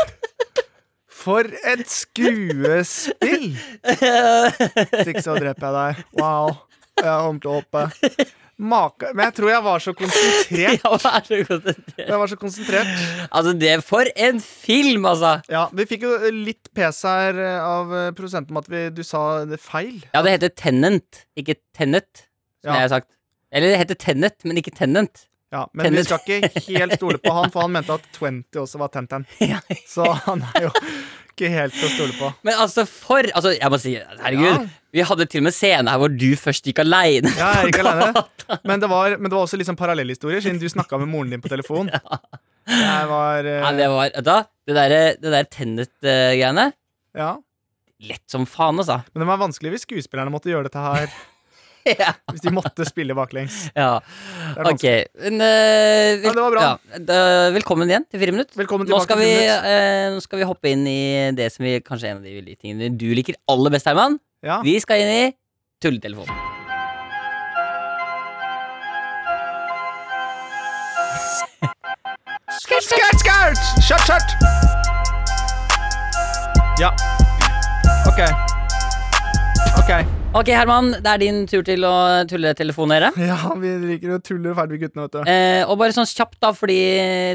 Speaker 3: For et skuespill! Hvis ikke så dreper jeg deg. Wow. Jeg kommer til å hoppe. Make Men jeg tror jeg var så konsentrert.
Speaker 2: Ja, vær så konsentrert.
Speaker 3: Jeg var så konsentrert.
Speaker 2: Altså, det er for en film, altså!
Speaker 3: Ja, Vi fikk jo litt pes her eh, av eh, produsenten om at vi, du sa det feil.
Speaker 2: Ja, det heter Tenant, ikke Tenet, som
Speaker 3: Ja.
Speaker 2: jeg har sagt. Eller det heter Tenet, men ikke Tenant. [laughs]
Speaker 3: Ja, Men vi skal ikke helt stole på han, for han mente at 20 også var Ten-Ten.
Speaker 2: Ja.
Speaker 3: Så han er jo ikke helt til å stole på.
Speaker 2: Men altså, for altså, Jeg må si, herregud.
Speaker 3: Ja.
Speaker 2: Vi hadde til og med scene her hvor du først gikk aleine.
Speaker 3: Ja, jeg er ikke alene. Men det var, men det var også liksom parallellhistorier, siden du snakka med moren din på telefon. Jeg var eh,
Speaker 2: Ja, det var vet du hva? Det derre det der Tennet-greiene
Speaker 3: Ja.
Speaker 2: Lett som faen, altså.
Speaker 3: Men det var vanskelig hvis skuespillerne måtte gjøre dette her.
Speaker 2: Ja.
Speaker 3: Hvis de måtte spille baklengs.
Speaker 2: ja.
Speaker 3: Det er
Speaker 2: Ok. Men, eh, vel-
Speaker 3: Ja, det var bra.
Speaker 2: ja, da- velkommen igjen til Friminutt.
Speaker 3: Velkommen
Speaker 2: Nå
Speaker 3: tilbake
Speaker 2: skal,
Speaker 3: til
Speaker 2: vi,
Speaker 3: Friminutt.
Speaker 2: eh, nå skal vi hoppe inn i det som vi, kanskje er en av de veldig tingene du liker aller best, Herman.
Speaker 3: Ja.
Speaker 2: Vi skal inn i tulletelefonen.
Speaker 3: Skert, skert, skert! Skjørt, skjørt! Ja. Ok. Ok.
Speaker 2: Ok, Herman, det er din tur til å tulletelefonere.
Speaker 3: Ja, vi liker å tulle ferdig med guttene, vet du.
Speaker 2: Eh, og bare sånn kjapt, da, fordi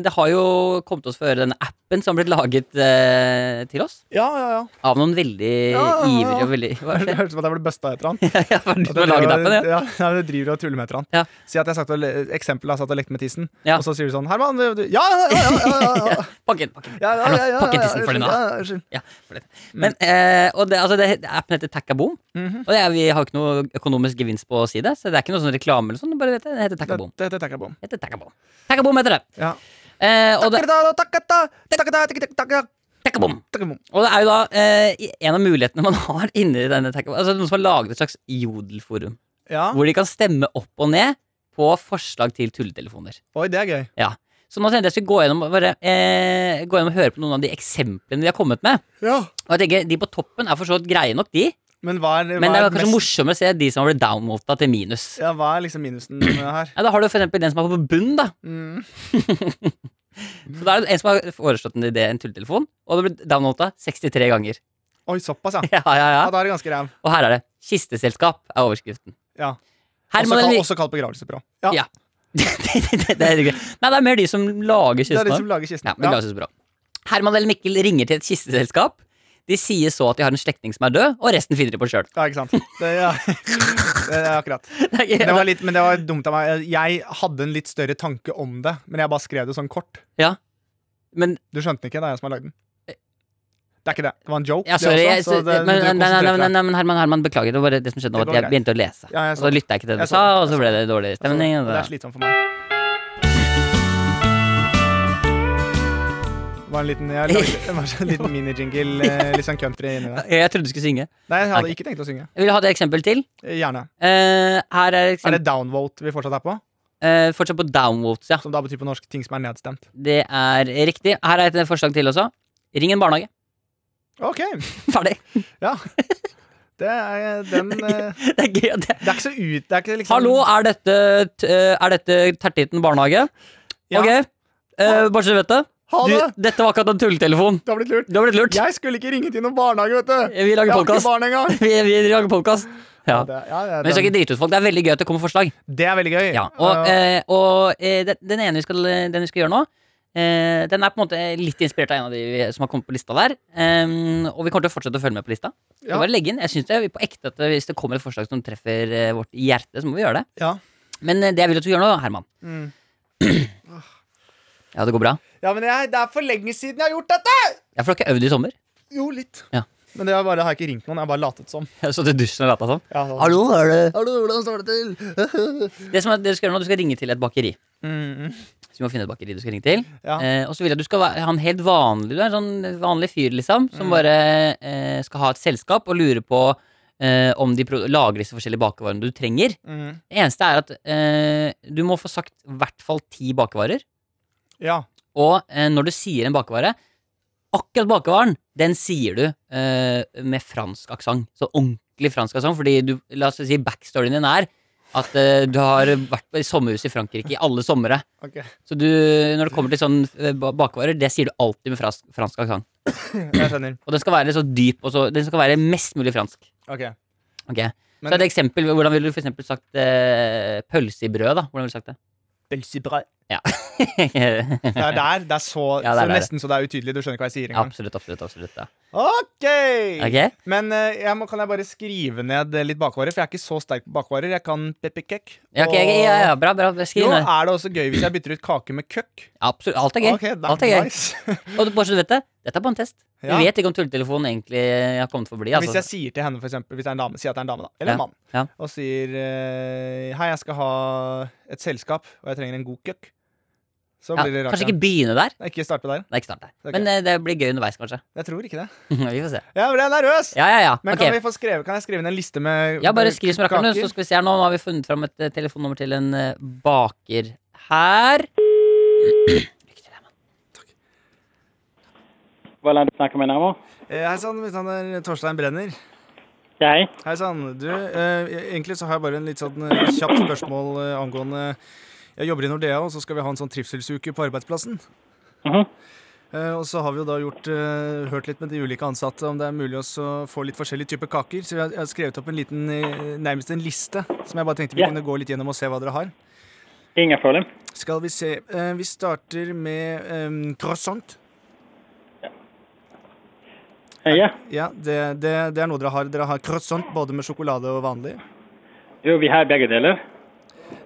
Speaker 2: det har jo kommet oss for øre denne appen som har blitt laget eh, til oss.
Speaker 3: Ja, ja, ja.
Speaker 2: Av noen veldig
Speaker 3: Ja, ja, ja.
Speaker 2: ivrige og veldig Hva
Speaker 3: Det
Speaker 2: skjer?
Speaker 3: hørtes ut som at jeg ble busta etter han.
Speaker 2: [laughs] Ja, ja, for du som har laget appen, ja.
Speaker 3: ja. ja, du driver og tuller med etter han.
Speaker 2: Ja.
Speaker 3: Si at jeg har sagt å le- eksempel, jeg har satt og lekt med tissen,
Speaker 2: Ja.
Speaker 3: og så sier du sånn Herman, du, du- ja, ja, ja, ja, ja, ja, ja.
Speaker 2: Pakken, pakken.
Speaker 3: Ja, ja, ja, ja, ja,
Speaker 2: Pakken tissen for den, da.
Speaker 3: ja, ja, unnskyld.
Speaker 2: Ja, for det. Men, eh, og det, altså det, appen heter Takkaboom.
Speaker 3: Mhm.
Speaker 2: Og det er, vi har ikke noe økonomisk gevinst på å si det, så det er ikke noe sånn reklame eller sånn. du Bare vet det, det heter
Speaker 3: Det,
Speaker 2: Takkaboom.
Speaker 3: det, det tenker jeg på.
Speaker 2: Det heter Takkaboom. Takkaboom heter det.
Speaker 3: Ja.
Speaker 2: Eh, og, det
Speaker 3: Takkata, takkata, takkata, takkata, takkata,
Speaker 2: Takkaboom.
Speaker 3: takkata.
Speaker 2: og det er jo da eh, i- en av mulighetene man [laughs] har inni denne Takkaboom. Altså noen som har laget et slags jodelforum,
Speaker 3: Ja.
Speaker 2: hvor de kan stemme opp og ned på forslag til tulletelefoner.
Speaker 3: Oi, det er gøy.
Speaker 2: Så nå tenkte jeg skulle gå gjennom, og bare, eh, gå gjennom og høre på noen av de eksemplene de har kommet med.
Speaker 3: Ja.
Speaker 2: Og jeg tenker, De på toppen er for så vidt greie nok, de.
Speaker 3: Men hva er, hva
Speaker 2: Men det er
Speaker 3: er
Speaker 2: kanskje morsommere å se de som har blitt downvota til minus. Ja.
Speaker 3: Ja, hva er liksom minusen her? [clears throat]
Speaker 2: da har du for eksempel den som er på bunnen, da.
Speaker 3: Mm.
Speaker 2: [laughs] Så da er det en som har foreslått en idé, en tulletelefon, og det har blitt downvota 63 ganger. [laughs]
Speaker 3: Oi, såpass, ja.
Speaker 2: Ja, ja, ja.
Speaker 3: Ja, Da er det ganske ræv.
Speaker 2: Og her er det. Kisteselskap er overskriften.
Speaker 3: Ja. Også,
Speaker 2: Herman
Speaker 3: kalt,
Speaker 2: eller
Speaker 3: Altså, også kalt begravelsebyrå. Ja.
Speaker 2: Ja. [laughs] det, det, det, det er greit. Nei, det er mer de som lager
Speaker 3: Det er de som
Speaker 2: kistene.
Speaker 3: lager kisten.
Speaker 2: Ja, men la oss bra. Herman eller Mikkel ringer til et kisteselskap. De sier så at de har en slektning som er død, og resten finner de på [laughs] sjøl.
Speaker 3: Ja, ikke sant. Det, ja. [laughs] det er akkurat. Det var litt, men det var dumt av meg. Jeg hadde en litt større tanke om det, men jeg bare skrev det sånn kort.
Speaker 2: Men
Speaker 3: Du skjønte den ikke? Det er jeg som har lagd den. Det er ikke det. Det var en joke.
Speaker 2: Ja,
Speaker 3: det
Speaker 2: sorry.
Speaker 3: også,
Speaker 2: Jeg,
Speaker 3: så det-
Speaker 2: men, nei,
Speaker 3: du
Speaker 2: nei, nei,
Speaker 3: konsentrerte
Speaker 2: nei,
Speaker 3: deg.
Speaker 2: nei, men Herman, Herman, beklager. Det var bare det som skjedde nå,
Speaker 3: Det
Speaker 2: at
Speaker 3: går
Speaker 2: jeg
Speaker 3: greit.
Speaker 2: begynte å lese.
Speaker 3: Ja, jeg
Speaker 2: og så
Speaker 3: så det.
Speaker 2: lytta jeg ikke til det du
Speaker 3: Jeg så
Speaker 2: sa,
Speaker 3: det.
Speaker 2: og så ble det dårlig stemning.
Speaker 3: Altså,
Speaker 2: og
Speaker 3: det er
Speaker 2: da-
Speaker 3: slitsomt for meg. Det var en liten, jeg lagde, det var en liten minijingle, eh, litt sånn country inni der.
Speaker 2: Jeg, jeg trodde du skulle synge.
Speaker 3: Nei, jeg hadde
Speaker 2: Ok.
Speaker 3: ikke tenkt å synge.
Speaker 2: Jeg vil ha et eksempel til.
Speaker 3: Eh, Gjerne.
Speaker 2: Eh, her er
Speaker 3: Er
Speaker 2: eksempel,
Speaker 3: det downvote vi fortsatt er på?
Speaker 2: eh, fortsatt på downvotes, ja.
Speaker 3: Som da betyr på norsk ting som er nedstemt.
Speaker 2: Det er riktig. Her er et forslag til også. Ring en
Speaker 3: [laughs]
Speaker 2: barnehage.
Speaker 3: Ok,
Speaker 2: Ferdig.
Speaker 3: det er den eh,
Speaker 2: Det er gøy. Det.
Speaker 3: Det er ikke så ut... Det er ikke liksom
Speaker 2: Hallo, er dette, t- eh, er dette Tertitten barnehage?
Speaker 3: Ja.
Speaker 2: Ok. Eh, bare så du vet det.
Speaker 3: Ha
Speaker 2: Du,
Speaker 3: det!
Speaker 2: dette var akkurat en tulletelefon.
Speaker 3: Du har blitt lurt.
Speaker 2: Du har blitt lurt.
Speaker 3: Jeg skulle ikke ringe til noen barnehage, vet du.
Speaker 2: Vi lager
Speaker 3: Jeg har ikke
Speaker 2: podcast.
Speaker 3: barn engang.
Speaker 2: Vi, vi lager podkast. [laughs] Ja.
Speaker 3: Det, ja, det,
Speaker 2: Men vi skal
Speaker 3: den-
Speaker 2: ikke drite ut folk. Det er veldig gøy at det kommer forslag.
Speaker 3: det er veldig gøy.
Speaker 2: [laughs] Ja, og,
Speaker 3: Eh,
Speaker 2: eh, og eh, den- den ene vi skal, den vi skal gjøre nå eh, Den er på en måte litt inspirert av en av de vi- som har kommet på lista der. Em, og vi kommer til å fortsette å følge med på lista. Så
Speaker 3: Ja.
Speaker 2: bare legge inn, jeg synes det er på ekte at Hvis det kommer et forslag som treffer eh, vårt hjerte, så må vi gjøre det.
Speaker 3: ja.
Speaker 2: Men eh, det jeg vil at du gjør nå, Herman [clears throat]
Speaker 3: Mm.
Speaker 2: Ah. Ja, det går bra.
Speaker 3: ja, men jeg, det er for lenge siden jeg har gjort dette!
Speaker 2: Ja, for du har ikke øvd i sommer?
Speaker 3: Jo, litt.
Speaker 2: Ja.
Speaker 3: Men det er bare, jeg har ikke ringt noen. Jeg har bare latet som.
Speaker 2: Jeg har stått i dusjen og lata sånn.
Speaker 3: Ja, sånn.
Speaker 2: Hallo, er det
Speaker 3: Hallo, hvordan står det til?
Speaker 2: Det som er, det du skal gjøre nå, du skal ringe til et bakeri.
Speaker 3: mm.
Speaker 2: Så du må finne et bakeri du skal ringe til.
Speaker 3: Ja.
Speaker 2: Eh, og så vil jeg at du skal være- ha en helt vanlig Du er en sånn vanlig fyr, liksom, som bare eh, skal ha et selskap og lure på eh, om de pro lager disse forskjellige bakervarene du trenger.
Speaker 3: Mm.
Speaker 2: Det eneste er at eh, du må få sagt i hvert fall ti bakervarer.
Speaker 3: ja.
Speaker 2: Og eh, når du sier en bakevare Akkurat bakevaren, den sier du eh, med fransk aksent. Så ordentlig fransk aksent, fordi du, la oss si backstoryen din er at eh, du har vært på sommerhus i Frankrike i alle somre.
Speaker 3: Ok. [laughs]
Speaker 2: Så du, når det kommer til sånn eh, ba- bakvarer, det sier du alltid med fransk, fransk aksent.
Speaker 3: Jeg skjønner.
Speaker 2: Og den skal være så dyp, og så, den skal være mest mulig fransk.
Speaker 3: Ok.
Speaker 2: Ok,
Speaker 3: Men-
Speaker 2: Så et eksempel, hvordan ville du for eksempel sagt eh, pølse i brød, da? Hvordan ville du sagt
Speaker 3: [laughs]
Speaker 2: det?
Speaker 3: Pølsebrød.
Speaker 2: Ja.
Speaker 3: Det er der. Det er så,
Speaker 2: [laughs] Ja, det er
Speaker 3: så
Speaker 2: der.
Speaker 3: nesten så det er utydelig. Du skjønner ikke hva jeg sier engang.
Speaker 2: absolutt, absolutt. absolutt ja.
Speaker 3: Ok!
Speaker 2: Ok?
Speaker 3: Men eh, jeg må, kan jeg bare skrive ned eh, litt bakvarer? For jeg er ikke så sterk på bakvarer. Jeg kan pepperkake.
Speaker 2: Ja, ok, ja, ja, bra, bra. Skriv
Speaker 3: Jo,
Speaker 2: ned.
Speaker 3: er det også gøy hvis jeg bytter ut kake med køkk? Ah,
Speaker 2: Absolutt. Alt er gøy.
Speaker 3: Ok, da-
Speaker 2: Alt er gøy. [laughs]
Speaker 3: nice.
Speaker 2: Og bare så du vet det, dette er bare en test. Vi
Speaker 3: Ja.
Speaker 2: vet ikke om tulletelefonen egentlig har kommet for å bli.
Speaker 3: Hvis
Speaker 2: Altså.
Speaker 3: jeg sier til henne, for eksempel, hvis det er en dame, sier at det er en dame, da, eller en
Speaker 2: Ja,
Speaker 3: mann,
Speaker 2: ja.
Speaker 3: og sier eh, Hei, jeg skal ha et selskap, og jeg trenger en god køkk, så
Speaker 2: Ja,
Speaker 3: blir det rart.
Speaker 2: kanskje
Speaker 3: igjen.
Speaker 2: ikke begynne der.
Speaker 3: Nei, ikke starte der.
Speaker 2: Nei, ikke start der.
Speaker 3: Ok.
Speaker 2: Men eh, det blir gøy underveis, kanskje. [laughs]
Speaker 3: Jeg tror ikke det.
Speaker 2: vi får se.
Speaker 3: Jeg ble nervøs!
Speaker 2: Ja, ja, ja.
Speaker 3: Men
Speaker 2: Ok.
Speaker 3: kan, vi få skrevet, kan jeg skrive ned en liste [laughs] med
Speaker 2: Ja, bare skriv som rakkeren, du,
Speaker 3: kaker?
Speaker 2: så skal vi se her nå. Nå har vi funnet fram et eh, telefonnummer til en eh, baker
Speaker 3: [laughs]
Speaker 2: her. Lykke til, Herman.
Speaker 4: Hva er det du snakker med nå?
Speaker 3: Eh, Hei sann, mitt navn er Torstein Brenner.
Speaker 4: Jeg?
Speaker 3: Hei sann. Du, eh, egentlig så har jeg bare en litt sånn eh, kjapt spørsmål eh, angående Jeg jobber i Nordea, og så skal vi ha en sånn trivselsuke på arbeidsplassen.
Speaker 4: Mhm.
Speaker 3: Eh, og så har vi jo da gjort, eh, hørt litt med de ulike ansatte om det er mulig også å få litt forskjellige typer kaker. Så jeg, har- jeg har skrevet opp en liten, eh, nærmest en liste, som jeg bare tenkte vi
Speaker 4: Ja.
Speaker 3: kunne gå litt gjennom og se hva dere har.
Speaker 4: Inga problem.
Speaker 3: Skal vi se. Eh, vi starter med eh, croissant.
Speaker 4: Eh, Ja.
Speaker 3: Ja, det, det, det er noe dere har. Dere har croissant både med sjokolade og vanlig.
Speaker 4: Jo, vi har begge deler.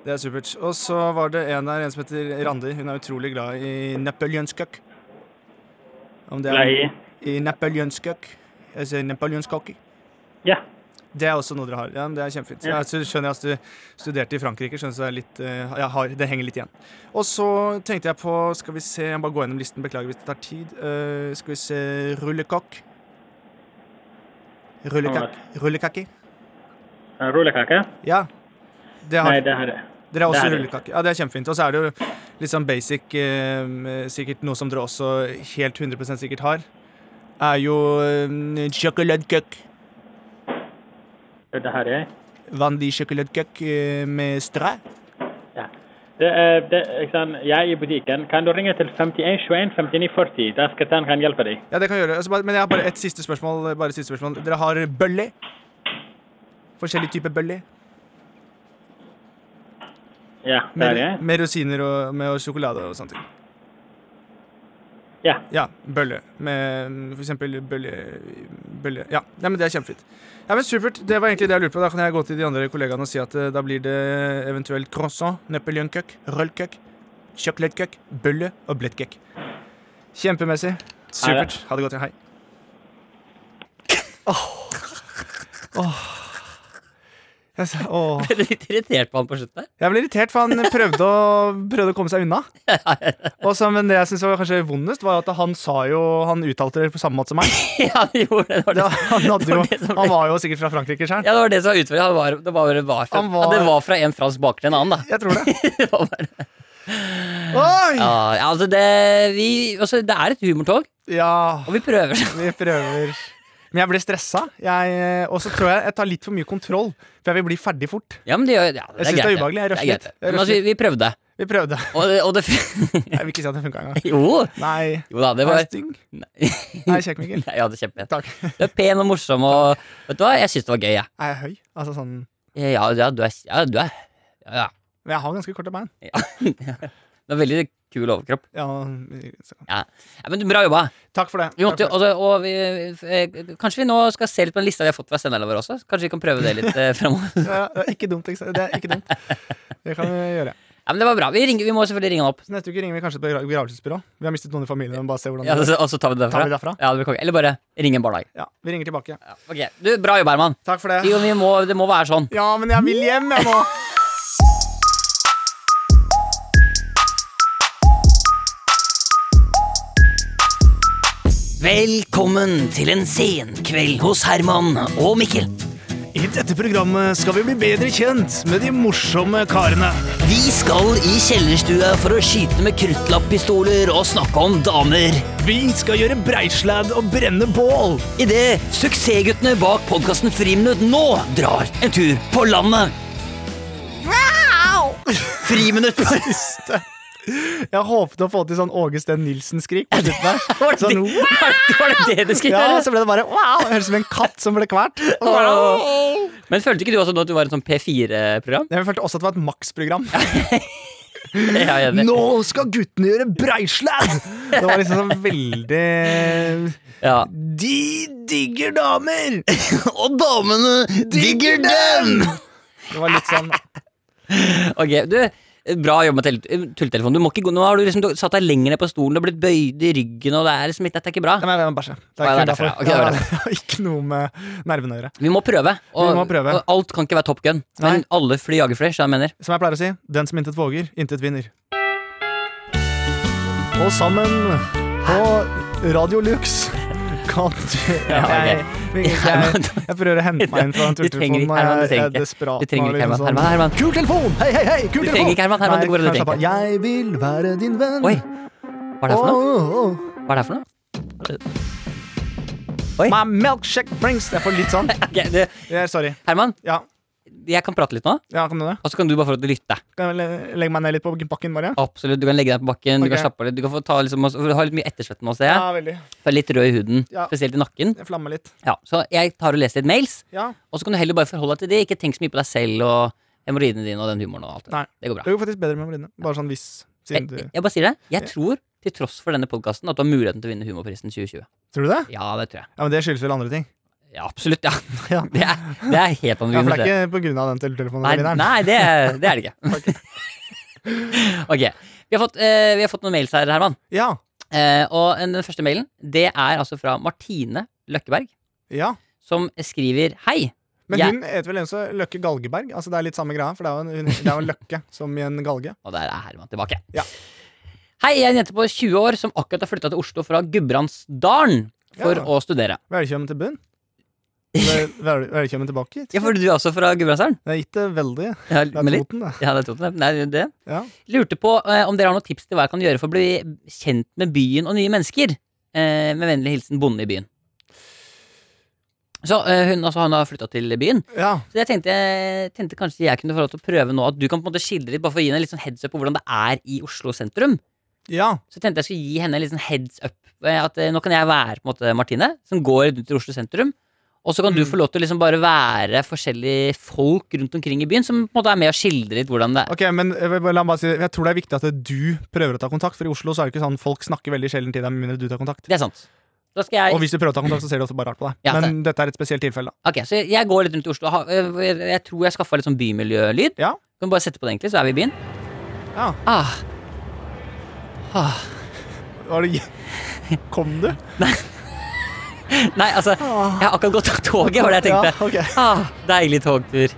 Speaker 3: Det er supert. Og så var det en her, en som heter Randi. Hun er utrolig glad i napoleonskøkk. Om det er
Speaker 4: Glad i?
Speaker 3: I napoleonskøkk. Jeg sier napoleonskake.
Speaker 4: Ja.
Speaker 3: Det er også noe dere har. Ja, men det er kjempefint.
Speaker 4: Ja.
Speaker 3: Jeg så skjønner jeg at du studerte i Frankrike, skjønner så det er litt eh, jeg har, Det henger litt igjen. Og så tenkte jeg på Skal vi se, jeg må bare gå gjennom listen, beklager hvis det tar tid. Eh, skal vi se Rullekakk. Rullekakk. Rullekakki.
Speaker 4: Eh, Rullekake?
Speaker 3: Ja. Det har
Speaker 4: Nei, det har jeg.
Speaker 3: dere har også
Speaker 4: Det er det.
Speaker 3: rullekake. Ja, det er kjempefint. Og så er det jo litt sånn basic, eh, sikkert noe som dere også helt 100 sikkert har, er jo eh, sjokoladekøkk.
Speaker 4: Det har jeg.
Speaker 3: Vanlig sjokoladekøkk eh, med strø.
Speaker 4: Ja. Det, er- det, ikke sant? Jeg er i butikken. Kan du ringe til 51 21 59 40? Der skal han kan hjelpe deg.
Speaker 3: Ja, det kan jeg gjøre. Altså, bare- men jeg har bare et siste spørsmål. Bare et siste spørsmål. Dere har bølle. Forskjellig type bølle.
Speaker 4: Ja, det har
Speaker 3: Med,
Speaker 4: jeg.
Speaker 3: med rosiner og, med og sjokolade og sånne ting.
Speaker 4: Ja.
Speaker 3: Ja, bølle. Med mm, for eksempel bølle, bølle. Ja, Nei, men det er kjempefint. Ja, men Supert. Det var egentlig det jeg lurte på. Da kan jeg gå til de andre kollegaene og si at eh, da blir det eventuelt croissant, napoleonkøkk, røllkøkk, sjokoladekøkk, bølle og bløtkøkk. Kjempemessig. Supert. Ha det godt. ja. Hei. Åh. Jeg sa- åh.
Speaker 2: Ble du litt irritert på han på slutten der?
Speaker 3: Jeg ble irritert, for han prøvde å, prøvde å komme seg unna. Og så, men det jeg syns var kanskje vondest, var at han sa jo Han uttalte det på samme måte som meg.
Speaker 2: [laughs] [laughs] Ja, han gjorde det. Det var
Speaker 3: Det
Speaker 2: det.
Speaker 3: var, han, hadde
Speaker 2: Det
Speaker 3: jo,
Speaker 2: var det som ble-
Speaker 3: han var jo sikkert fra Frankrike sjøl.
Speaker 2: Ja, det var det som var utført. Han var, det, var, det, var fra,
Speaker 3: Han var-
Speaker 2: ja, det var fra en fransk baker til en annen, da.
Speaker 3: Jeg tror [laughs] det.
Speaker 2: [laughs] Det var bare-
Speaker 3: Oi!
Speaker 2: ja, ja, altså det, vi, altså, det er et humortog,
Speaker 3: Ja,
Speaker 2: og vi prøver. [laughs]
Speaker 3: vi prøver. Men jeg ble stressa, jeg- og så tror jeg jeg tar litt for mye kontroll. For jeg vil bli ferdig fort.
Speaker 2: Ja, men det, gjør- ja,
Speaker 3: Jeg synes det er
Speaker 2: greit,
Speaker 3: ubehagelig.
Speaker 2: Det er
Speaker 3: Jeg røsler
Speaker 2: greit,
Speaker 3: litt.
Speaker 2: det.
Speaker 3: Jeg
Speaker 2: Men altså,
Speaker 3: røsler
Speaker 2: vi, vi prøvde.
Speaker 3: Vi prøvde.
Speaker 2: Og, det- og det f- [laughs]
Speaker 3: Jeg vil ikke si at det funka engang.
Speaker 2: Jo!
Speaker 3: Nei.
Speaker 2: Jo da, det
Speaker 3: Er
Speaker 2: var
Speaker 3: jeg stygg?
Speaker 2: [laughs] Nei,
Speaker 3: Er jeg kjekk, Mikkel?
Speaker 2: ja, det er kjempefint.
Speaker 3: Takk.
Speaker 2: Du er pen og morsom, og vet du hva, jeg syns det var gøy, jeg.
Speaker 3: Er jeg høy? Altså sånn
Speaker 2: Ja, ja, du er Ja, du er Ja.
Speaker 3: Men jeg har ganske korte bein.
Speaker 2: ja. Det er veldig kul overkropp.
Speaker 3: Ja, så.
Speaker 2: Ja, men bra jobba.
Speaker 3: Takk for det.
Speaker 2: Vi måtte,
Speaker 3: Takk
Speaker 2: jo- altså, og vi, eh, kanskje vi nå skal se litt på den lista vi har fått fra senderne våre også? Kanskje vi kan prøve det litt eh, fremover? [laughs]
Speaker 3: for det. Ja, det er ikke dumt. ikke sant? Det er ikke dumt. Det kan vi gjøre.
Speaker 2: Ja, men det var bra. Vi, ringer, vi må selvfølgelig ringe han opp.
Speaker 3: Så neste uke ringer vi kanskje et begra- begravelsesbyrå. Vi har mistet noen i familien. men Bare se hvordan
Speaker 2: Ja,
Speaker 3: det går.
Speaker 2: så- og så tar vi det
Speaker 3: Tar vi
Speaker 2: derfra.
Speaker 3: derfra?
Speaker 2: Ja, det blir konge. Eller bare ring en barnehage.
Speaker 3: Ja, vi ringer tilbake.
Speaker 2: Ja, ok. Du, bra jobb, Herman.
Speaker 3: Takk for
Speaker 2: Jo,
Speaker 3: det.
Speaker 2: vi må, det må være sånn.
Speaker 3: Ja, men jeg vil hjem, jeg må.
Speaker 2: Velkommen til en senkveld hos Herman og Mikkel.
Speaker 3: I dette programmet skal vi bli bedre kjent med de morsomme karene.
Speaker 2: Vi skal i kjellerstua for å skyte med kruttlapppistoler og snakke om damer.
Speaker 3: Vi skal gjøre breislad og brenne bål.
Speaker 2: Idet suksessguttene bak podkasten Friminutt nå drar en tur på landet.
Speaker 3: [laughs]
Speaker 2: Friminutt.
Speaker 3: Jeg håpet å få til sånn Åge Steen Nilsen-skrik på slutten der. Sånn,
Speaker 2: [laughs] Var det- var det det du skulle
Speaker 3: ja,
Speaker 2: gjøre?
Speaker 3: så ble det bare wow! Høres ut som en katt som ble kvalt.
Speaker 2: Men følte ikke du også nå at du var et sånn P4-program?
Speaker 3: Jeg følte også at det var et Max-program.
Speaker 2: [laughs] Ja, jeg er enig.
Speaker 3: Nå skal guttene gjøre breislad! [laughs] Det var liksom sånn veldig
Speaker 2: Ja.
Speaker 3: De digger [laughs] damer!
Speaker 2: Og damene digger dem!
Speaker 3: Det var litt sånn
Speaker 2: Ok, du Bra jobb med tele- tulletelefonen. Du må ikke gå, nå har du liksom satt deg lenger ned på stolen og blitt bøyd i ryggen. Og det er liksom, litt- dette er ikke bra
Speaker 3: Nei, det var bæsje.
Speaker 2: Å, ja, det
Speaker 3: Det er kun
Speaker 2: er derfor,
Speaker 3: derfor.
Speaker 2: ja.
Speaker 3: Ja,
Speaker 2: Ok, det var
Speaker 3: det har [laughs] ikke noe med nervene å gjøre.
Speaker 2: Vi må prøve. Og,
Speaker 3: Vi må prøve.
Speaker 2: og alt kan ikke være Top Gun. Men
Speaker 3: Nei.
Speaker 2: alle fly jager fly. skjønner du hva jeg mener
Speaker 3: Som jeg pleier å si, den som intet våger, intet vinner. Og sammen på Radio Lux kan du
Speaker 2: Ja, ok.
Speaker 3: jeg, jeg, jeg, jeg prøver å hente meg inn fra den
Speaker 2: Du trenger
Speaker 3: turtelefonen
Speaker 2: ikke-
Speaker 3: når
Speaker 2: Herman, du
Speaker 3: jeg
Speaker 2: trenger ikke.
Speaker 3: er desperat.
Speaker 2: Du trenger
Speaker 3: nå,
Speaker 2: ikke,
Speaker 3: liksom
Speaker 2: Herman. Herman, Herman.
Speaker 3: Kul telefon! Hei, hei, hei! Kul
Speaker 2: Du
Speaker 3: telefon!
Speaker 2: trenger ikke, Herman, Herman,
Speaker 3: Nei,
Speaker 2: det går bra, du
Speaker 3: kan
Speaker 2: trenger
Speaker 3: jeg slappe av? Jeg vil være din venn.
Speaker 2: Oi, hva er det for noe?
Speaker 3: Åh, åh,
Speaker 2: Hva er det for noe?
Speaker 3: åh. My milkshake brings Jeg får litt sånn.
Speaker 2: Ok, du,
Speaker 3: Jeg er sorry.
Speaker 2: Herman,
Speaker 3: Ja,
Speaker 2: jeg kan prate litt nå, og
Speaker 3: ja kan du det?
Speaker 2: så kan du bare få lov til å lytte.
Speaker 3: Kan jeg le- legge meg ned litt på bakken, bare?
Speaker 2: Absolutt, Du kan legge deg på bakken, du
Speaker 3: Ok.
Speaker 2: kan slappe av litt. Du kan få ta liksom, og- for du har litt mye ettersvett nå, ser
Speaker 3: Ja,
Speaker 2: jeg.
Speaker 3: veldig.
Speaker 2: Du er Litt rød i huden,
Speaker 3: Ja.
Speaker 2: spesielt i nakken.
Speaker 3: Jeg flammer litt.
Speaker 2: Ja, Så jeg tar og leser litt mails,
Speaker 3: Ja.
Speaker 2: og så kan du heller bare forholde deg til det. Ikke tenk så mye på deg selv og hemoroidene dine og den humoren og alt det.
Speaker 3: Nei.
Speaker 2: Det går bra.
Speaker 3: Det går faktisk bedre med brillene. Bare sånn hvis siden du
Speaker 2: Jeg, [laughs] jeg bare sier det. Jeg tror, til tross for denne podkasten, at du har muligheten til å vinne Humorprisen 2020.
Speaker 3: Tror du det?
Speaker 2: Ja, det tror jeg.
Speaker 3: Ja, men Det skyldes vel andre ting.
Speaker 2: Ja, absolutt. ja [laughs]
Speaker 3: Ja.
Speaker 2: Det er, det er helt
Speaker 3: Ja, for
Speaker 2: anonymt.
Speaker 3: det er ikke på grunn av den telefonen.
Speaker 2: nei,
Speaker 3: Vidar.
Speaker 2: nei det, er- det er det ikke.
Speaker 3: [laughs]
Speaker 2: [laughs] ok. Vi har, fått, eh, vi har fått noen mails her, Herman.
Speaker 3: Ja,
Speaker 2: Eh, og en- den første mailen Det er altså fra Martine Løkkeberg,
Speaker 3: ja.
Speaker 2: som skriver Hei.
Speaker 3: Men
Speaker 2: jeg-
Speaker 3: hun heter vel også Løkke Galgeberg? Altså Det er litt samme greia, for det er jo en, hun, det er jo en løkke som i en galge.
Speaker 2: Og der er Herman tilbake.
Speaker 3: Ja.
Speaker 2: Hei, jeg er en jente på 20 år som akkurat har flytta til Oslo fra Gudbrandsdalen for
Speaker 3: Ja.
Speaker 2: å studere.
Speaker 3: Velkommen
Speaker 2: [laughs]
Speaker 3: til bunn. Vel- vel- Velkommen tilbake.
Speaker 2: Ja, for du er også fra Gudbrandsdalen?
Speaker 3: Det er ikke veldig.
Speaker 2: Ja,
Speaker 3: Det er
Speaker 2: litt-
Speaker 3: Toten, det.
Speaker 2: [laughs] Ja, det er Toten. Nei, det.
Speaker 3: Ja.
Speaker 2: Lurte på eh, om dere har noen tips til hva jeg kan gjøre for å bli kjent med byen og nye mennesker. Eh, med vennlig hilsen bonde i byen. Så eh, hun, altså, han har flytta til byen.
Speaker 3: Ja.
Speaker 2: Så jeg tenkte, tenkte kanskje jeg kunne få lov til å prøve nå at du kan på en måte skildre litt, bare for å gi henne litt sånn heads up på hvordan det er i Oslo sentrum.
Speaker 3: ja.
Speaker 2: Så jeg tenkte jeg skulle gi henne litt sånn heads up. eh, At eh, nå kan jeg være på en måte Martine, som går rundt i Oslo sentrum. Og så kan du
Speaker 3: Mm.
Speaker 2: få lov til å liksom bare være forskjellige folk rundt omkring i byen som på en måte er med og skildrer litt hvordan det er.
Speaker 3: Ok, men eh, bare la meg bare si Jeg tror det er viktig at du prøver å ta kontakt, for i Oslo så er det ikke sånn folk snakker veldig sjelden til deg med mindre du tar kontakt.
Speaker 2: Det er sant. Da skal jeg
Speaker 3: Og hvis du prøver å ta kontakt, så ser de ofte bare rart på deg.
Speaker 2: Ja,
Speaker 3: men dette er et spesielt tilfelle, da.
Speaker 2: Ok, så jeg- jeg går litt rundt i Oslo. Ha- øh, Jeg jeg tror jeg skaffa litt sånn bymiljølyd.
Speaker 3: Ja.
Speaker 2: Kan bare sette på det, egentlig, så er vi i byen.
Speaker 3: Ja.
Speaker 2: Ah,
Speaker 3: Var det Kom du?
Speaker 2: nei, altså, jeg har akkurat gått av toget, var det jeg tenkte.
Speaker 3: Ah. Ja, ok.
Speaker 2: Ah, deilig togtur.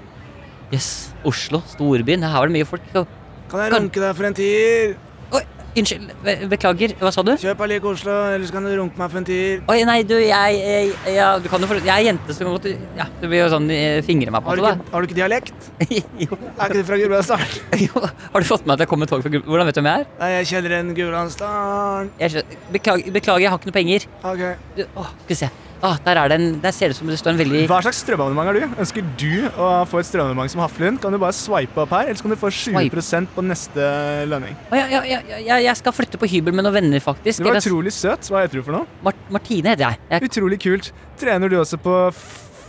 Speaker 2: Jøss, yes, Oslo, storbyen. Her var det mye folk. Å,
Speaker 5: Kan jeg
Speaker 2: Kan-
Speaker 5: runke deg for en tier?
Speaker 2: Oi, unnskyld, be- beklager, hva sa du?
Speaker 5: Kjøp Alik Oslo, ellers kan du runke meg for en tier.
Speaker 2: Oi, nei, du, jeg, jeg Ja, du kan jo for... Jeg er jente, så du kan godt Ja, det blir jo sånn eh, fingre meg på
Speaker 5: Har du,
Speaker 2: det,
Speaker 5: ikke, har du ikke dialekt?
Speaker 2: da. [laughs] jo,
Speaker 5: Er ikke det fra Gudbrandsdalen?
Speaker 2: jo. Har du fått med at jeg kom med tog fra Gul- Hvordan vet du hvem jeg er?
Speaker 5: Nei, jeg kjenner en Gudbrandsdalen.
Speaker 2: Jeg skjønner. Beklager, beklager, jeg har ikke noe penger.
Speaker 5: Ok.
Speaker 2: Du, Åh, skal vi se. Ah, der, er det en, der ser det ut som det står en veldig
Speaker 3: Hva slags strømabonnement har du? Ønsker du å få et strømabonnement som Haflund, kan du bare swipe opp her, eller så kan du få 20 på neste lønning.
Speaker 2: Å, ja, ja, ja, ja, ja, Jeg skal flytte på hybel med noen venner, faktisk.
Speaker 3: Du var
Speaker 2: Jeg-
Speaker 3: utrolig søt. Hva heter du for noe?
Speaker 2: Mart Martine heter jeg. jeg
Speaker 3: Utrolig kult. Trener du også på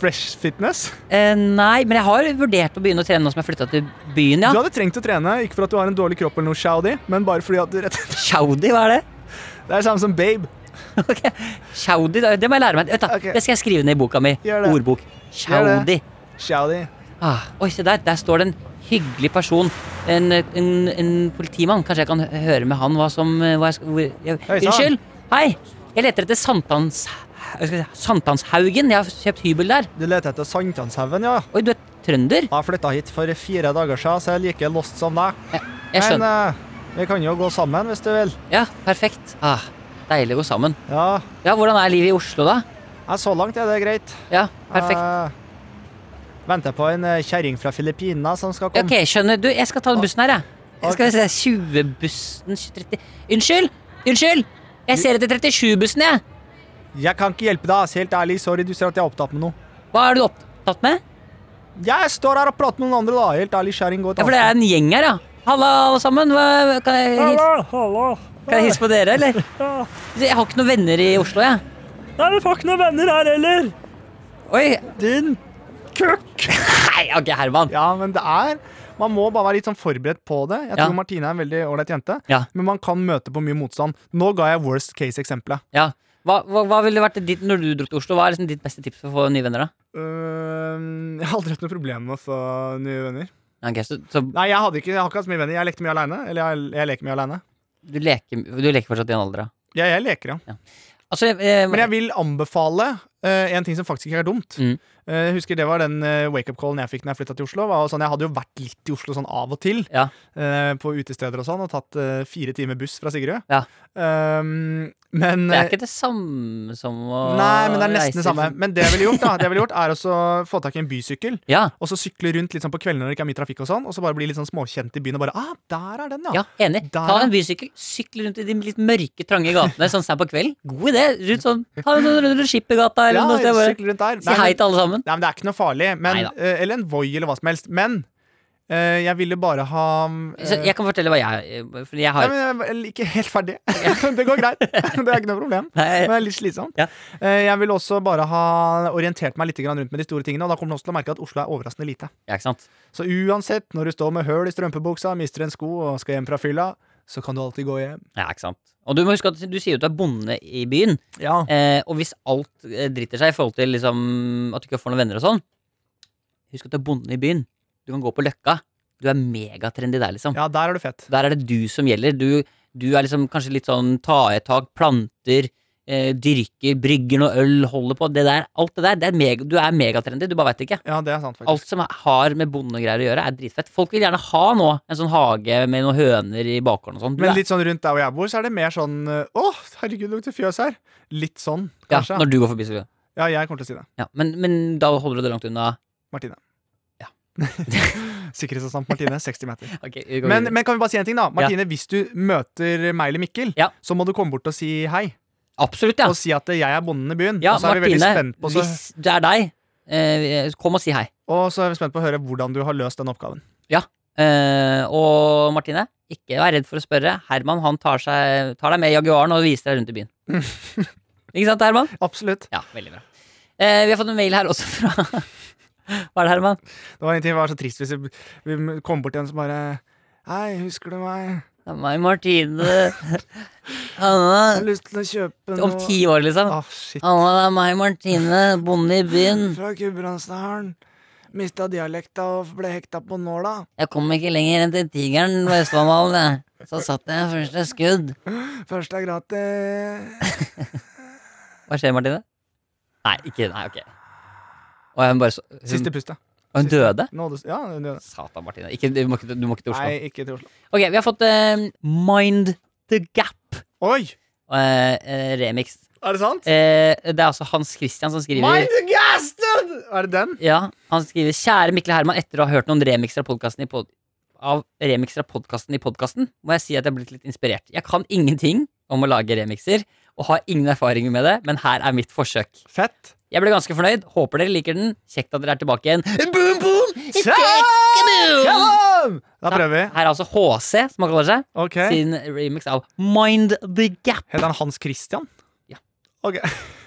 Speaker 3: Fresh Fitness?
Speaker 2: eh, nei, men jeg har vurdert å begynne å trene nå som jeg flytta til byen,
Speaker 3: Du
Speaker 2: ja.
Speaker 3: hadde trengt å trene, ikke for at du har en dårlig kropp eller noe shawdy, men bare fordi at du rett [laughs]
Speaker 2: Chaudi, hva er det? [laughs]
Speaker 3: Det er samme som babe.
Speaker 2: Ok, Chaudi, det det må jeg lære meg. Vet du,
Speaker 3: Ok.
Speaker 2: Det skal jeg skrive ned i boka mi.
Speaker 3: Gjør det.
Speaker 2: Ordbok.
Speaker 3: Gjør
Speaker 2: Chaudi.
Speaker 3: det. Shawdy.
Speaker 2: Ah, oi, se der. Der står det en hyggelig person. En, en, en politimann. Kanskje jeg kan hø- høre med han hva som eh, hva jeg, skal- hvor, jeg,
Speaker 3: Hei, sann.
Speaker 2: Unnskyld! Hei! Jeg leter etter Sankthans... hva skal jeg si, Sankthanshaugen. Jeg har kjøpt hybel der.
Speaker 3: Du leter etter Sankthanshaugen, ja?
Speaker 2: Oi, du er trønder?
Speaker 3: Jeg flytta hit for fire dager siden, så jeg er like lost som deg.
Speaker 2: Jeg, jeg skjønner.
Speaker 3: Men eh, vi kan jo gå sammen hvis du vil.
Speaker 2: Ja, perfekt. Ah, deilig å gå sammen.
Speaker 3: Ja,
Speaker 2: Ja, Hvordan er livet i Oslo, da?
Speaker 3: eh, så langt er det greit.
Speaker 2: Ja,
Speaker 3: Ah.
Speaker 2: perfekt.
Speaker 3: Jeg venter på en eh, kjerring fra Filippinene som skal komme.
Speaker 2: Ok, skjønner. Du, jeg skal ta den bussen her, jeg. jeg skal se 20-bussen 30 Unnskyld! Unnskyld! Jeg ser etter 37-bussen, jeg.
Speaker 3: Jeg kan ikke hjelpe deg, ass. helt ærlig. Sorry, du ser at jeg er opptatt med noe.
Speaker 2: Hva er du opptatt med?
Speaker 3: Jeg står her og prater med noen andre, da. Helt ærlig, kjerring, gå et
Speaker 2: Ja, for det er en gjeng her, ja. Halla, alle sammen. Hva, kan, jeg hilse,
Speaker 6: Hallo, hallo.
Speaker 2: kan jeg hilse på dere, eller?
Speaker 6: [laughs] Ja.
Speaker 2: Jeg har ikke noen venner i Oslo, jeg.
Speaker 6: Nei, vi får ikke noen venner her heller.
Speaker 2: Oi.
Speaker 3: Din køkk!
Speaker 2: Nei, ok, Herman.
Speaker 3: Ja, men det er Man må bare være litt sånn forberedt på det. Jeg
Speaker 2: Ja.
Speaker 3: tror Martine er en veldig ålreit jente,
Speaker 2: Ja.
Speaker 3: men man kan møte på mye motstand. Nå ga jeg worst case-eksempelet.
Speaker 2: Ja. Hva, hva, hva ville vært ditt når du dro til Oslo? Hva er liksom ditt beste tips for å få nye venner, da?
Speaker 3: Øhm, jeg har aldri hatt noe problem med å få nye venner.
Speaker 2: Ja, ok, så, så
Speaker 3: Nei, jeg, hadde ikke, jeg har ikke hatt så mye venner. Jeg lekte mye aleine. Eller jeg, jeg leker mye aleine.
Speaker 2: du leker, du leker fortsatt i en alder, da?
Speaker 3: Ja, jeg leker, ja.
Speaker 2: Altså, eh,
Speaker 3: Men jeg vil anbefale eh, en ting som faktisk ikke er dumt.
Speaker 2: Mm.
Speaker 3: Eh, jeg husker Det var den eh, wake-up-callen jeg fikk når jeg flytta til Oslo. Var jo sånn, jeg hadde jo vært litt i Oslo sånn av og til,
Speaker 2: Ja.
Speaker 3: eh, på utesteder og sånn, og tatt eh, fire timer buss fra Sigurd.
Speaker 2: Ja.
Speaker 3: Ehm, men øh,
Speaker 2: Det er ikke det samme som å
Speaker 3: Nei, men det er nesten
Speaker 2: reise-
Speaker 3: det samme. Men det jeg ville gjort, da, det jeg ville gjort er også få tak i en bysykkel.
Speaker 2: Ja,
Speaker 3: Og så sykle rundt litt sånn på kveldene når det ikke er mye trafikk, og sånn Og så bare bli litt sånn småkjent i byen. Og bare, ah, der er den, ja,
Speaker 2: ja, enig.
Speaker 3: Der,
Speaker 2: Ta
Speaker 3: ja.
Speaker 2: en bysykkel, sykle rundt i de litt mørke, trange gatene sånn sent på kvelden. God idé! Rundt sånn, Ta en sånn rundt rundt Skippergata eller noe sted. Bare.
Speaker 3: sykle rundt der.
Speaker 2: Si
Speaker 3: Nei,
Speaker 2: hei
Speaker 3: men-
Speaker 2: til alle sammen.
Speaker 3: Nei, men det er ikke noe farlig. Men,
Speaker 2: Neida.
Speaker 3: eh, eller en Voi, eller hva som helst. Men eh, jeg ville bare ha eh,
Speaker 2: Så jeg kan fortelle hva jeg For jeg
Speaker 3: Nei,
Speaker 2: har
Speaker 3: men jeg er vel ikke helt ferdig. [laughs] det går greit. Det er ikke noe problem. Men det
Speaker 2: Nei,
Speaker 3: er litt slitsomt.
Speaker 2: Ja.
Speaker 3: Eh, Jeg ville også bare ha orientert meg litt grann rundt med de store tingene, og da kommer du også til å merke at Oslo er overraskende lite.
Speaker 2: ja, ikke sant?
Speaker 3: Så uansett, når du står med høl i strømpebuksa, mister en sko og skal hjem fra fylla, så kan du alltid gå hjem.
Speaker 2: Ja, ikke sant? Og du må huske at du sier jo at du er bonde i byen.
Speaker 3: Ja.
Speaker 2: Eh, og hvis alt eh, driter seg i forhold til liksom, at du ikke får noen venner og sånn, husk at du er bonde i byen. Du kan gå på Løkka. Du er megatrendy der, liksom.
Speaker 3: ja, der er du fett.
Speaker 2: Der er det du som gjelder. Du, du er liksom kanskje litt sånn ta i et tak, planter, eh, dyrker, brygger noe øl, holder på. Det der, alt det der. Det er mega, du er megatrendy, du bare veit ikke.
Speaker 3: Ja, det er sant, faktisk.
Speaker 2: Alt som er- har med bondegreier å gjøre, er dritfett. Folk vil gjerne ha nå en sånn hage med noen høner i bakgården og sånn. Du
Speaker 3: Men
Speaker 2: er-
Speaker 3: litt sånn rundt der hvor jeg bor, så er det mer sånn eh, Å, herregud, det lukter fjøs her. Litt sånn,
Speaker 2: ja,
Speaker 3: kanskje.
Speaker 2: når du går forbi, så gjør du det.
Speaker 3: Ja, jeg kommer til å si det.
Speaker 2: ja, men, men da holder du det langt unna.
Speaker 3: Martine. [laughs]
Speaker 2: Ja.
Speaker 3: Sikkerhetsassistent Martine, 60 meter.
Speaker 2: Ok, vi går
Speaker 3: Men,
Speaker 2: videre.
Speaker 3: men kan vi bare si en ting, da? Martine, hvis du møter meg eller Mikkel,
Speaker 2: Ja.
Speaker 3: så må du komme bort og si hei.
Speaker 2: Absolutt, ja.
Speaker 3: Og si at eh, jeg er bonden i byen.
Speaker 2: ja
Speaker 3: og så er vi veldig
Speaker 2: Martine,
Speaker 3: spent på, så,
Speaker 2: hvis det er deg, eh, kom og si hei.
Speaker 3: og så er vi spent på å høre hvordan du har løst den oppgaven.
Speaker 2: Eh, og Martine, ikke vær redd for å spørre. Herman han tar, seg, tar deg med i Jaguaren og viser deg rundt [laughs] i byen. ikke sant, Herman?
Speaker 3: Absolutt.
Speaker 2: Ja, veldig bra. Eh, vi har fått en mail her også fra Hva er det, Herman?
Speaker 3: Det var en ting som var så trist hvis vi, vi kom bort til en som bare Hei, husker du meg?
Speaker 2: Det er meg, Martine. Anna,
Speaker 5: Jeg har lyst til å kjøpe
Speaker 2: om
Speaker 5: noe
Speaker 2: ti år, liksom.
Speaker 3: Å, shit.
Speaker 2: Anna, det er meg, Martine, bonde i byen.
Speaker 5: fra Gudbrandsdalen. Mista dialekta og ble hekta på nåla.
Speaker 2: Jeg kom ikke lenger enn til tigeren på Østlandhallen, jeg. Så satt jeg første skudd.
Speaker 5: Først er gratis.
Speaker 2: Hva skjer, Martine? Nei, ikke Nei, ok. Og hun bare så hun,
Speaker 3: Siste pustet.
Speaker 2: og hun døde?
Speaker 3: Nådes, ja, hun døde.
Speaker 2: Satan, Martine. Ikke, du, må ikke, du må ikke til Oslo.
Speaker 3: Nei, ikke til Oslo.
Speaker 2: Ok, vi har fått eh, Mind the Gap.
Speaker 3: Oi!
Speaker 2: eh, eh, remix.
Speaker 3: Er det sant?
Speaker 2: Eh, det er altså Hans Christian som skriver
Speaker 3: Mindgasted! Er det den?
Speaker 2: Ja, han skriver Kjære Mikkel og Herman, etter å ha hørt noen remixer av podkasten i pod av remixer av podkasten i podkasten, må jeg si at jeg er blitt litt inspirert. Jeg kan ingenting om å lage remixer, og har ingen erfaring med det, men her er mitt forsøk.
Speaker 3: Fett.
Speaker 2: Jeg ble ganske fornøyd. Håper dere liker den. Kjekt at dere er tilbake igjen. Boom, boom! Her
Speaker 3: Come on! Da prøver vi.
Speaker 2: er altså HC, som han kaller seg,
Speaker 3: Ok.
Speaker 2: sin remix av Mind the Gap.
Speaker 3: Heter han Hans Christian?
Speaker 2: Ja.
Speaker 3: Ok.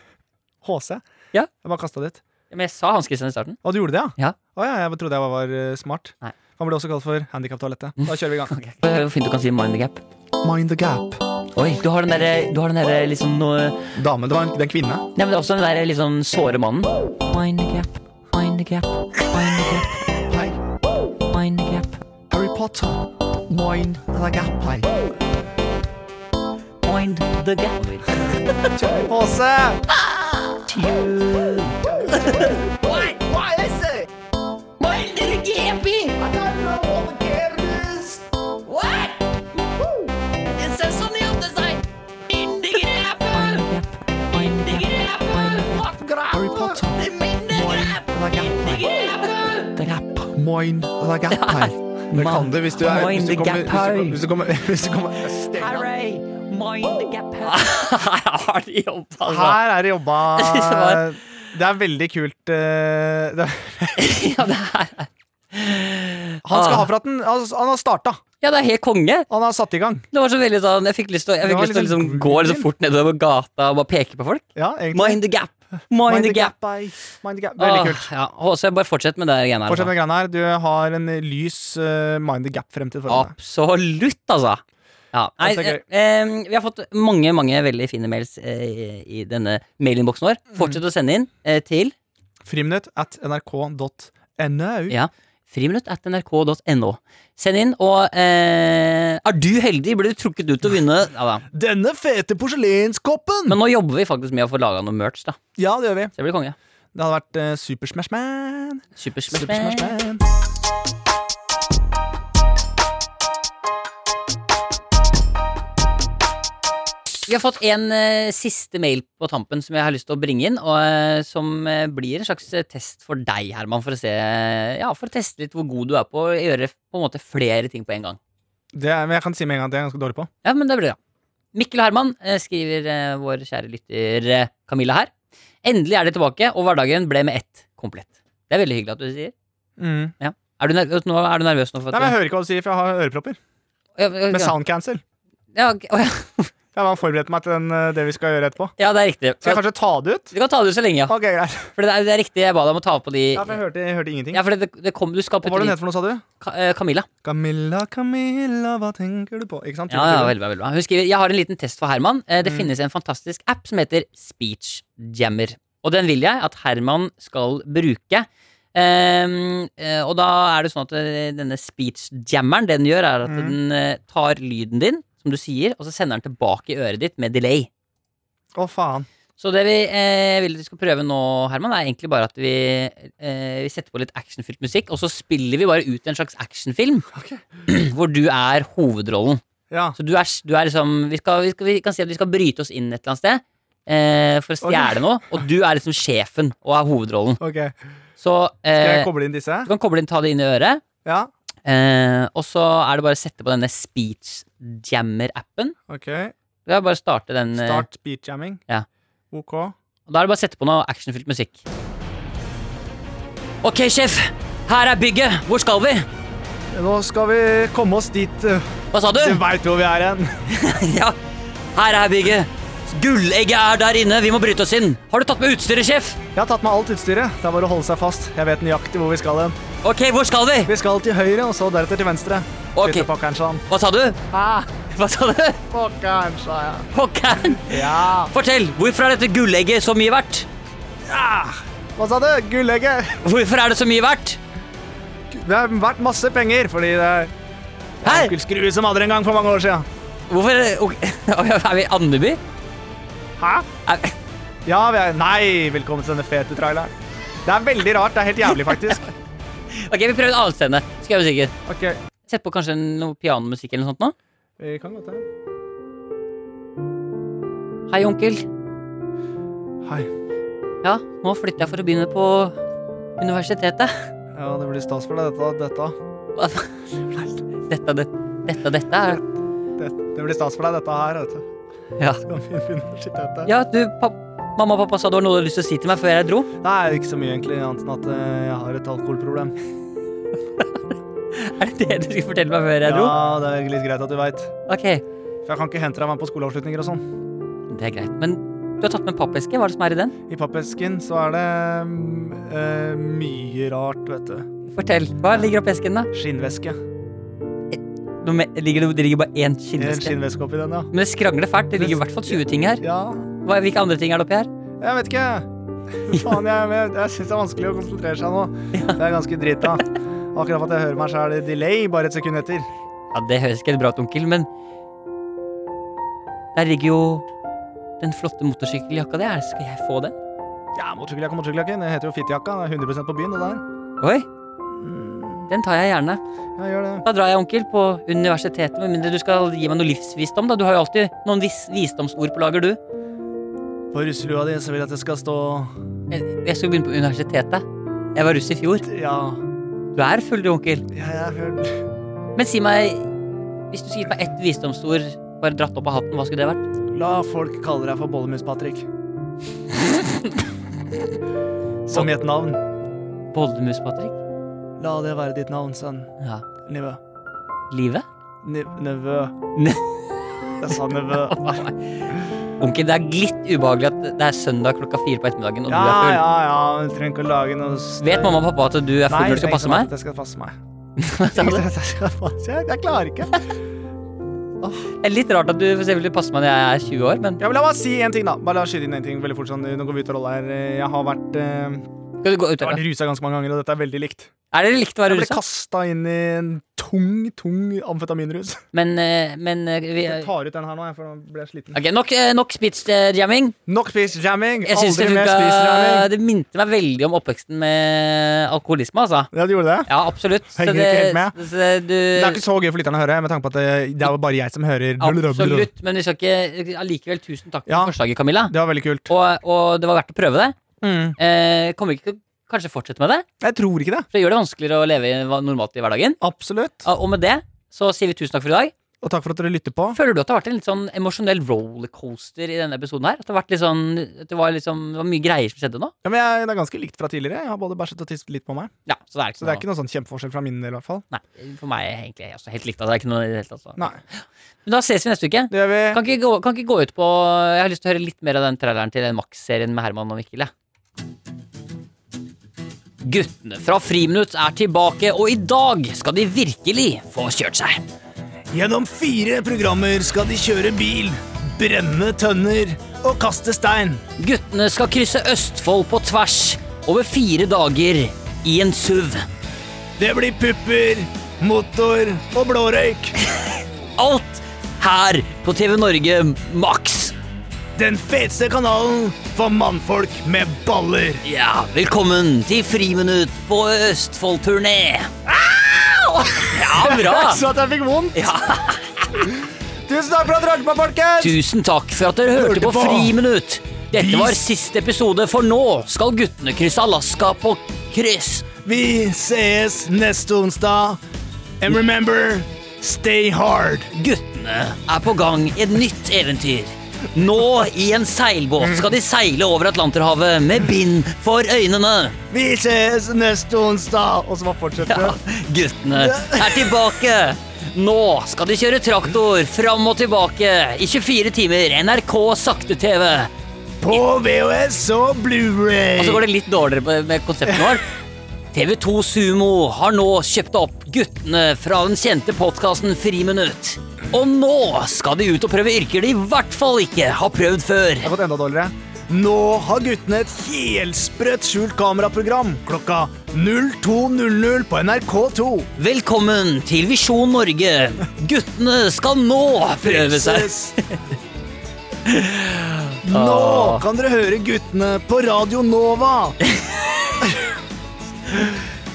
Speaker 3: [laughs] HC?
Speaker 2: Ja.
Speaker 3: Jeg bare kasta dit.
Speaker 2: Men jeg sa Hans Christian i starten.
Speaker 3: Å, du gjorde det, ja?
Speaker 2: Ja.
Speaker 3: Å ja, jeg trodde jeg var, var eh, smart.
Speaker 2: Nei.
Speaker 3: Han ble også kalt for handikaptoalettet. Da kjører vi
Speaker 2: [laughs]
Speaker 3: i gang.
Speaker 2: Okay. Hvor fint du kan si Mind the Gap.
Speaker 3: Mind the gap.
Speaker 2: Oi, du har den derre du har den derre liksom nå- Nei,
Speaker 3: Dame, det var en, det er en kvinne.
Speaker 2: men det er også den derre liksom såre mannen. Mind the Gap, Mind the Gap, Mind the Gap,
Speaker 3: Hei.
Speaker 2: Mind the Gap,
Speaker 3: Harry Potter. Mind the gap. Hei.
Speaker 2: Mind the Gap.
Speaker 3: HC! Harry Potter. Mind the gap.
Speaker 2: [laughs]
Speaker 3: Hei. Det kan du hvis du er
Speaker 2: Mind
Speaker 3: Hvis du
Speaker 2: the
Speaker 3: kommer,
Speaker 2: gap, hei.
Speaker 3: hvis du kommer, [laughs] hvis du kommer, hvis du kommer
Speaker 2: [laughs] Her har de jobba, altså.
Speaker 3: Her er det jobba
Speaker 2: Jeg synes [laughs] det var-
Speaker 3: Det er veldig kult eh, det,
Speaker 2: Ja, det er,
Speaker 3: [laughs] Han skal
Speaker 2: Ah.
Speaker 3: ha for at den Han, han har starta
Speaker 2: ja, det er helt konge.
Speaker 3: Han har satt i gang
Speaker 2: Det var så veldig sånn Jeg fikk lyst til å, jeg
Speaker 3: Det
Speaker 2: fikk
Speaker 3: var
Speaker 2: lyst til å
Speaker 3: litt
Speaker 2: liksom
Speaker 3: sånn
Speaker 2: gå liksom
Speaker 3: groovy.
Speaker 2: fort nedover gata og bare peke på folk.
Speaker 3: Ja, egentlig
Speaker 2: Mind the gap. Mind the gap. Ah.
Speaker 3: ei. Mind the gap Veldig kult
Speaker 2: Åh, Ja, HC, bare fortsett med det greiene her.
Speaker 3: Fortsett
Speaker 2: altså.
Speaker 3: med greiene her Du har en lys eh, Mind the gap fremtid foran deg
Speaker 2: Absolutt, altså. Ja. Nei,
Speaker 3: Dette er gøy.
Speaker 2: eh, eh, vi har fått mange mange veldig fine mails eh, i denne mailinnboksen vår.
Speaker 3: Mm.
Speaker 2: Fortsett å sende inn eh, til
Speaker 3: Friminutt at nrk.no
Speaker 2: Ja. friminutt at nrk.no. Send inn, og eh, er du heldig, blir du trukket ut til å vinne. Ja, da.
Speaker 3: Denne fete porselenskoppen
Speaker 2: Men nå jobber vi faktisk med å få laga noe merch, da.
Speaker 3: Ja, det gjør vi
Speaker 2: Så det blir konge.
Speaker 3: Det hadde vært eh, Super Smash Man Super Smash
Speaker 2: Supersmash.
Speaker 3: Man
Speaker 2: Vi har fått en eh, siste mail på tampen som jeg har lyst til å bringe inn, og eh, som eh, blir en slags eh, test for deg, Herman, for å se eh, Ja, for å teste litt hvor god du er på å gjøre på en måte flere ting på en gang.
Speaker 3: det, er- Men jeg kan si med en gang at jeg er ganske dårlig på
Speaker 2: Ja, men det blir bra. Mikkel Herman eh, skriver eh, vår kjære lytter eh, Camilla her. Endelig er de tilbake, og hverdagen ble med ett komplett. Det er veldig hyggelig at du sier.
Speaker 3: mm.
Speaker 2: Er du, nervøs nå, er du nervøs nå? For
Speaker 3: Nei, men jeg
Speaker 2: at du,
Speaker 3: hører ikke hva du sier For jeg har ørepropper
Speaker 2: ja, ja, ja,
Speaker 3: Med sound cancel
Speaker 2: ja, ok, å, ja.
Speaker 3: Jeg bare forberedte meg til den, eh, det vi skal gjøre etterpå.
Speaker 2: ja, det er riktig.
Speaker 3: Skal jeg kanskje ta det ut?
Speaker 2: Du kan ta det ut så lenge, ja.
Speaker 3: Ok, greit.
Speaker 2: For det er, det er riktig, jeg ba deg om å ta på de
Speaker 3: Ja, for jeg hørte, jeg hørte ingenting.
Speaker 2: Ja, for det, det kom, du skal
Speaker 3: Hva
Speaker 2: putte
Speaker 3: var det hun
Speaker 2: litt-
Speaker 3: het for noe, sa du?
Speaker 2: Ka- eh, Camilla.
Speaker 3: Camilla, Camilla, hva tenker du på? Ikke sant?
Speaker 2: Ja, ja, veldig bra, veldig bra. Hun skriver Jeg har en liten test for Herman. Eh, Det finnes en fantastisk app som heter Speech Jammer. Og den vil jeg at Herman skal bruke. Ehm, eh, og da er det sånn at eh, denne speech jammeren den gjør, er at den eh, tar lyden din, som du sier, og så sender den tilbake i øret ditt med delay.
Speaker 3: Å, faen.
Speaker 2: Så det vi eh, vil at vi skal prøve nå, Herman, er egentlig bare at vi, eh, vi setter på litt actionfylt musikk, og så spiller vi bare ut en slags actionfilm [clears throat] hvor du er hovedrollen.
Speaker 3: Ja.
Speaker 2: Så du er, s- du er liksom vi, skal, vi, skal, vi kan si at vi skal bryte oss inn et eller annet sted eh, for å stjele noe, og du er liksom sjefen og er hovedrollen.
Speaker 3: Ok.
Speaker 2: Så
Speaker 3: Skal jeg
Speaker 2: eh,
Speaker 3: koble inn disse?
Speaker 2: du kan koble inn, ta det inn i øret,
Speaker 3: Ja.
Speaker 2: eh, og så er det bare å sette på denne speech jammer-appen.
Speaker 3: Ok.
Speaker 2: Du kan bare starte den. eh,
Speaker 3: Start speedjamming.
Speaker 2: ja.
Speaker 3: Ok.
Speaker 2: Og da er det bare å sette på noe actionfylt musikk. Ok, sjef. Her er bygget. Hvor skal vi?
Speaker 3: Nå skal vi komme oss dit. eh,
Speaker 2: Hva sa du?
Speaker 3: Du veit hvor vi er hen.
Speaker 2: [laughs] Ja, her er bygget. Gullegget er der inne. Vi må bryte oss inn. Har du tatt med utstyret, sjef?
Speaker 3: Jeg har tatt med alt utstyret. Det er bare å holde seg fast. Jeg vet nøyaktig hvor vi skal hen.
Speaker 2: Ok, hvor skal vi?
Speaker 3: Vi skal til høyre, og så deretter til venstre.
Speaker 2: Ok.
Speaker 3: Flytte pakkeren sånn.
Speaker 2: Hva sa du? Hva sa du?
Speaker 3: Pakkeren, sa jeg.
Speaker 2: Pokkeren.
Speaker 3: Ja.
Speaker 2: Fortell, hvorfor er dette gullegget så mye verdt?
Speaker 3: Hva sa du? Gullegget.
Speaker 2: Hvorfor er det så mye verdt?
Speaker 3: Det har vært masse penger, fordi det er
Speaker 2: Hæ?
Speaker 3: onkel Skrue som hadde det en gang for mange år siden.
Speaker 2: Hvorfor ok, [laughs] Er vi i Andeby?
Speaker 3: Hæ?
Speaker 2: Er vi- [laughs]
Speaker 3: Ja, vi er... Nei, velkommen til denne fete traileren. Det er veldig rart. Det er helt jævlig, faktisk.
Speaker 2: Ok, vi prøver et annet sted. Skal jeg musikken.
Speaker 3: Ok,
Speaker 2: Sett på kanskje noe pianomusikk eller noe sånt nå.
Speaker 3: vi kan gå til
Speaker 2: Hei, onkel.
Speaker 3: Hei.
Speaker 2: Ja, nå flytter jeg for å begynne på universitetet. [laughs]
Speaker 3: Ja, det blir stas for deg, dette. Dette.
Speaker 2: Hva faen? Dette, det- dette, dette er
Speaker 3: Det, det blir stas for deg, dette her. Vet du.
Speaker 2: Ja.
Speaker 3: Kan vi finne shit ut av?
Speaker 2: Ja, du, pap mamma og pappa sa du har noe du hadde lyst til å si til meg før jeg dro. [laughs]
Speaker 3: Nei, ikke så mye egentlig, annet enn at eh, jeg har et alkoholproblem.
Speaker 2: Er det det du skulle fortelle meg før jeg dro?
Speaker 3: Ja, det er litt greit at du veit.
Speaker 2: Ok,
Speaker 3: For jeg kan ikke hente deg med på skoleavslutninger og sånn.
Speaker 2: det er greit. Men du har tatt med en pappeske. Hva er det som er i den?
Speaker 3: I pappesken så er det mm, eh, mye rart, vet du.
Speaker 2: Fortell. Hva ligger oppi esken, da?
Speaker 3: Skinnvæske.
Speaker 2: Noe mer- ligger det, det ligger bare én
Speaker 3: En
Speaker 2: skinnveske.
Speaker 3: skinnvæske oppi den, ja.
Speaker 2: Men det skrangler fælt. Det ligger i hvert fall 20 ting her.
Speaker 3: Ja,
Speaker 2: Hva, hvilke andre ting er det oppi her?
Speaker 3: jeg vet ikke. [laughs] Faen, jeg, jeg, jeg syns det er vanskelig å konsentrere seg nå. Det er ganske drita. Akkurat for at jeg hører meg sjæl i delay bare et sekund etter.
Speaker 2: Ja, Det høres ikke helt bra ut, onkel, men Der ligger jo den flotte motorsykkeljakka di. Er- Skal jeg få den?
Speaker 3: Ja, motorsykkeljakke, motorsykkeljakke. Det heter jo fittejakka. Det er 100 på byen, det der.
Speaker 2: Oi, Mm. den tar jeg gjerne.
Speaker 3: Ja, gjør det.
Speaker 2: Da drar jeg, onkel, på universitetet, med mindre du skal gi meg noe livsvisdom, da. Du har jo alltid noen vis visdomsord på lager, du.
Speaker 3: På russelua di så vil jeg at det skal stå
Speaker 2: Jeg, jeg skal begynne på universitetet. Jeg var russ i fjor.
Speaker 3: Ja,
Speaker 2: Du er full, du, onkel.
Speaker 3: ja jeg er full.
Speaker 2: Men si meg, hvis du skulle gitt meg ett visdomsord, bare dratt opp av hatten, hva skulle det vært?
Speaker 3: La folk kalle deg for Bollemus,
Speaker 2: [laughs]
Speaker 3: Patrick. Som i et navn.
Speaker 2: Bollemus, Patrick?
Speaker 3: La det være ditt navn, sønn.
Speaker 2: Ja.
Speaker 3: Nivø.
Speaker 2: Livet? [laughs]
Speaker 3: Niv nevø.
Speaker 2: Ne-
Speaker 3: Jeg
Speaker 2: [laughs]
Speaker 3: sa nevø.
Speaker 2: Onkel, det er litt ubehagelig at det er søndag klokka fire på ettermiddagen, og
Speaker 3: Ja,
Speaker 2: du er full.
Speaker 3: ja, ja. men Du trenger ikke å lage noe støy.
Speaker 2: Vet mamma og pappa at du er full
Speaker 3: Nei,
Speaker 2: når du skal
Speaker 3: jeg
Speaker 2: passe
Speaker 3: tenker
Speaker 2: meg?
Speaker 3: at Jeg skal passe meg.
Speaker 2: [laughs] Hva sa du?
Speaker 3: Jeg skal passe- Jeg jeg klarer ikke.
Speaker 2: Det er litt rart at du for eksempel vil passe meg når jeg er 20 år, men
Speaker 3: Ja, men La meg si en ting, da. Bare la oss skyte inn en ting veldig fort. sånn, Nå går vi ut av rolla her. Jeg har vært, eh,
Speaker 2: skal du gå ut
Speaker 3: jeg
Speaker 2: her?
Speaker 3: har vært rusa ganske mange ganger, og dette er veldig likt.
Speaker 2: Er det likt å være
Speaker 3: Jeg ble
Speaker 2: rusa?
Speaker 3: kasta inn i en tung, tung amfetaminrus.
Speaker 2: Men, eh, men eh, vi
Speaker 3: Jeg tar ut den her nå, jeg, for nå ble jeg sliten.
Speaker 2: Ok, nok, eh, nok speech-jamming.
Speaker 3: Nok spis-jamming!
Speaker 2: Jeg synes det
Speaker 3: Aldri mer
Speaker 2: funka
Speaker 3: spis-jamming!
Speaker 2: Det minte meg veldig om oppveksten med alkoholisme, altså.
Speaker 3: Ja, du gjorde det?
Speaker 2: Ja, absolutt. Så
Speaker 3: Henger
Speaker 2: det,
Speaker 3: ikke helt med.
Speaker 2: så det, du,
Speaker 3: Det er ikke så gøy for lytterne å høre, med tanke på at det, det er jo bare jeg som hører.
Speaker 2: Absolutt, men vi skal ikke Allikevel, tusen takk for
Speaker 3: Ja.
Speaker 2: forslaget, Camilla.
Speaker 3: Det var veldig kult.
Speaker 2: Og, og det var verdt å prøve det.
Speaker 3: Mm.
Speaker 2: Eh, kommer vi ikke til å kanskje fortsette med det,
Speaker 3: Jeg tror ikke det.
Speaker 2: for det gjør det vanskeligere å leve i- normalt i hverdagen.
Speaker 3: Absolutt.
Speaker 2: Ja, Og med det så sier vi tusen takk for i dag.
Speaker 3: Og takk for at dere lytter på.
Speaker 2: Føler du at det har vært en litt sånn emosjonell rollercoaster i denne episoden her? At det har vært litt sånn At det var liksom Det var mye greier som skjedde nå?
Speaker 3: Ja, men jeg, Det er ganske likt fra tidligere. Jeg har både bæsjet og tisset litt på meg.
Speaker 2: Ja, så det er ikke,
Speaker 3: Så det er ikke noe sånn kjempeforskjell fra min del, i hvert fall.
Speaker 2: noe Nei, for meg er egentlig også helt likt. Altså, det er ikke noe i det hele tatt. altså.
Speaker 3: Nei.
Speaker 2: Men da ses vi neste uke.
Speaker 3: Det gjør vi.
Speaker 2: Kan ikke, gå, kan ikke gå ut på Jeg har lyst til å høre litt mer av den traileren til den Max-serien med Herman og Mikkel. jeg. Guttene fra Friminutt er tilbake, og i dag skal de virkelig få kjørt seg.
Speaker 3: Gjennom fire programmer skal de kjøre bil, brenne tønner og kaste stein.
Speaker 2: Guttene skal krysse Østfold på tvers over fire dager i en SUV.
Speaker 3: Det blir pupper, motor og blårøyk.
Speaker 2: Alt her på TV Norge Max.
Speaker 3: Den feteste kanalen for mannfolk med baller.
Speaker 2: Ja, velkommen til Friminutt på Østfold-turné. Au! [laughs] Ja, bra.
Speaker 3: [laughs] Så at jeg fikk vondt.
Speaker 2: Ah. Ja.
Speaker 3: [laughs] Tusen takk for at dere hørte på, folkens!
Speaker 2: Tusen takk for at dere hørte
Speaker 3: Hørte
Speaker 2: på
Speaker 3: på.
Speaker 2: Friminutt. Dette
Speaker 3: Vi-
Speaker 2: var siste episode, for nå skal guttene krysse Alaska på kryss.
Speaker 3: Vi sees neste onsdag. And remember, stay hard.
Speaker 2: Guttene er på gang i et nytt eventyr. Nå i en seilbåt skal de seile over Atlanterhavet med bind for øynene.
Speaker 3: Vi sees neste onsdag. Og så bare fortsetter
Speaker 2: Ja,
Speaker 3: det.
Speaker 2: guttene er tilbake. Nå skal de kjøre traktor fram og tilbake i 24 timer NRK sakte-TV.
Speaker 3: På VHS og Blu-ray.
Speaker 2: Og så går det litt dårligere på- med konseptet vårt. TV2 Sumo har nå kjøpt opp guttene fra den kjente podkasten Friminutt. Og nå skal de ut og prøve yrker de i hvert fall ikke har prøvd før.
Speaker 3: Det har gått enda dårligere. Nå har guttene et helsprøtt skjult kameraprogram klokka 02.00 på NRK2.
Speaker 2: Velkommen til Visjon Norge. Guttene skal nå prøve seg.
Speaker 3: Ses.
Speaker 2: [laughs]
Speaker 3: Nå kan dere høre guttene på Radio Nova.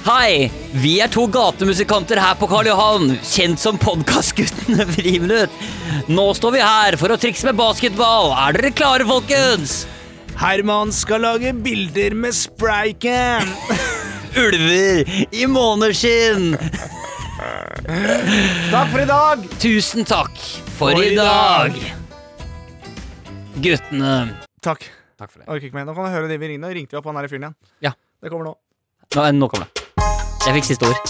Speaker 2: Hei, vi er to gatemusikanter her på Karl Johan, kjent som Podkastguttene [laughs] Friminutt. Nå står vi her for å trikse med basketball. Er dere klare, folkens?
Speaker 3: Herman skal lage bilder med spraycam.
Speaker 2: Ulver i måneskinn.
Speaker 3: Takk for i dag.
Speaker 2: Tusen takk for i dag. Guttene.
Speaker 3: Takk.
Speaker 2: Takk for det.
Speaker 3: Orker ikke mer. Nå kan du høre det vi ringte. Nå ringte vi opp han der fyren igjen.
Speaker 2: Ja.
Speaker 3: Det kommer nå.
Speaker 2: Nå, eh, nå kommer det. Jeg fikk siste ord.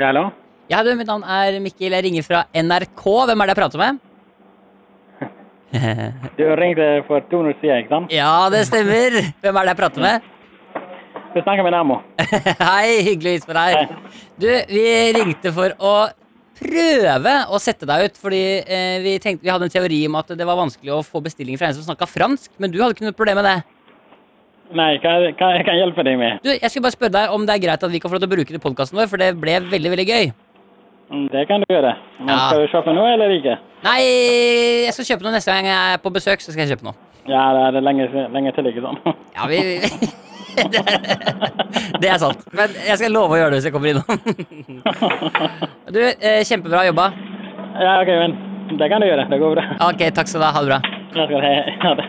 Speaker 4: Ja, hallo?
Speaker 2: Ja, du, mitt navn er Mikkel. Jeg ringer fra NRK. Hvem er det jeg prater med?
Speaker 4: Du ringte for to minutter siden, ikke sant?
Speaker 2: Ja, det stemmer. Hvem er det jeg prater med? [laughs]
Speaker 4: Du snakker med Namo.
Speaker 2: Hei, hyggelig å hilse på deg. Du, vi ringte for å prøve å sette deg ut, fordi eh, vi, tenkte, vi hadde en teori om at det var vanskelig å få bestillinger fra en som snakka fransk, men du hadde ikke noe problem med det.
Speaker 4: Nei, hva, hva jeg kan hjelpe deg med?
Speaker 2: Du, jeg skulle bare spørre deg om det er greit at vi kan få lov til å bruke det i podkasten vår, for det ble veldig, veldig gøy.
Speaker 4: Mm, Det kan du gjøre. Men
Speaker 2: Ja.
Speaker 4: skal du kjøpe noe eller ikke?
Speaker 2: Nei, jeg skal kjøpe noe neste gang jeg er på besøk, så skal jeg kjøpe noe.
Speaker 4: Ja, det er det lenge, lenge til, ikke sant? [laughs]
Speaker 2: Ja, vi... [laughs] vi- Det er, det er sant. Men jeg skal love å gjøre det hvis jeg kommer innom. [laughs] Du, eh, kjempebra jobba.
Speaker 4: Ja, ok, men det kan du gjøre. Det går bra.
Speaker 2: Ok, takk skal du ha. Ha det bra.
Speaker 4: Jeg [laughs] skal ha ha det.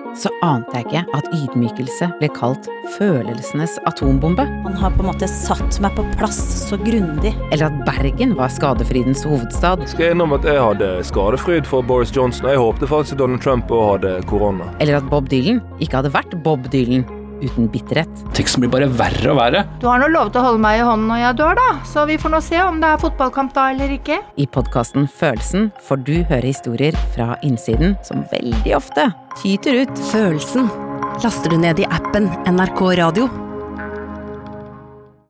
Speaker 7: så ante jeg ikke at ydmykelse ble kalt følelsenes atombombe,
Speaker 8: Han har på en måte satt meg på plass så grundig.
Speaker 7: eller at Bergen var skadefridens hovedstad,
Speaker 9: skal jeg innom at jeg hadde skadefryd for Boris Johnson. og Jeg håpte faktisk at Donald Trump også hadde korona.
Speaker 7: eller at Bob Dylan ikke hadde vært Bob Dylan uten bitterhet.
Speaker 10: Teksten blir bare verre og verre.
Speaker 11: Du har nå lov til å holde meg i hånden når jeg dør, da, så vi får nå se om det er fotballkamp da eller ikke.
Speaker 7: I podkasten Følelsen får du høre historier fra innsiden som veldig ofte tyter ut.
Speaker 1: Følelsen laster du ned i appen NRK Radio.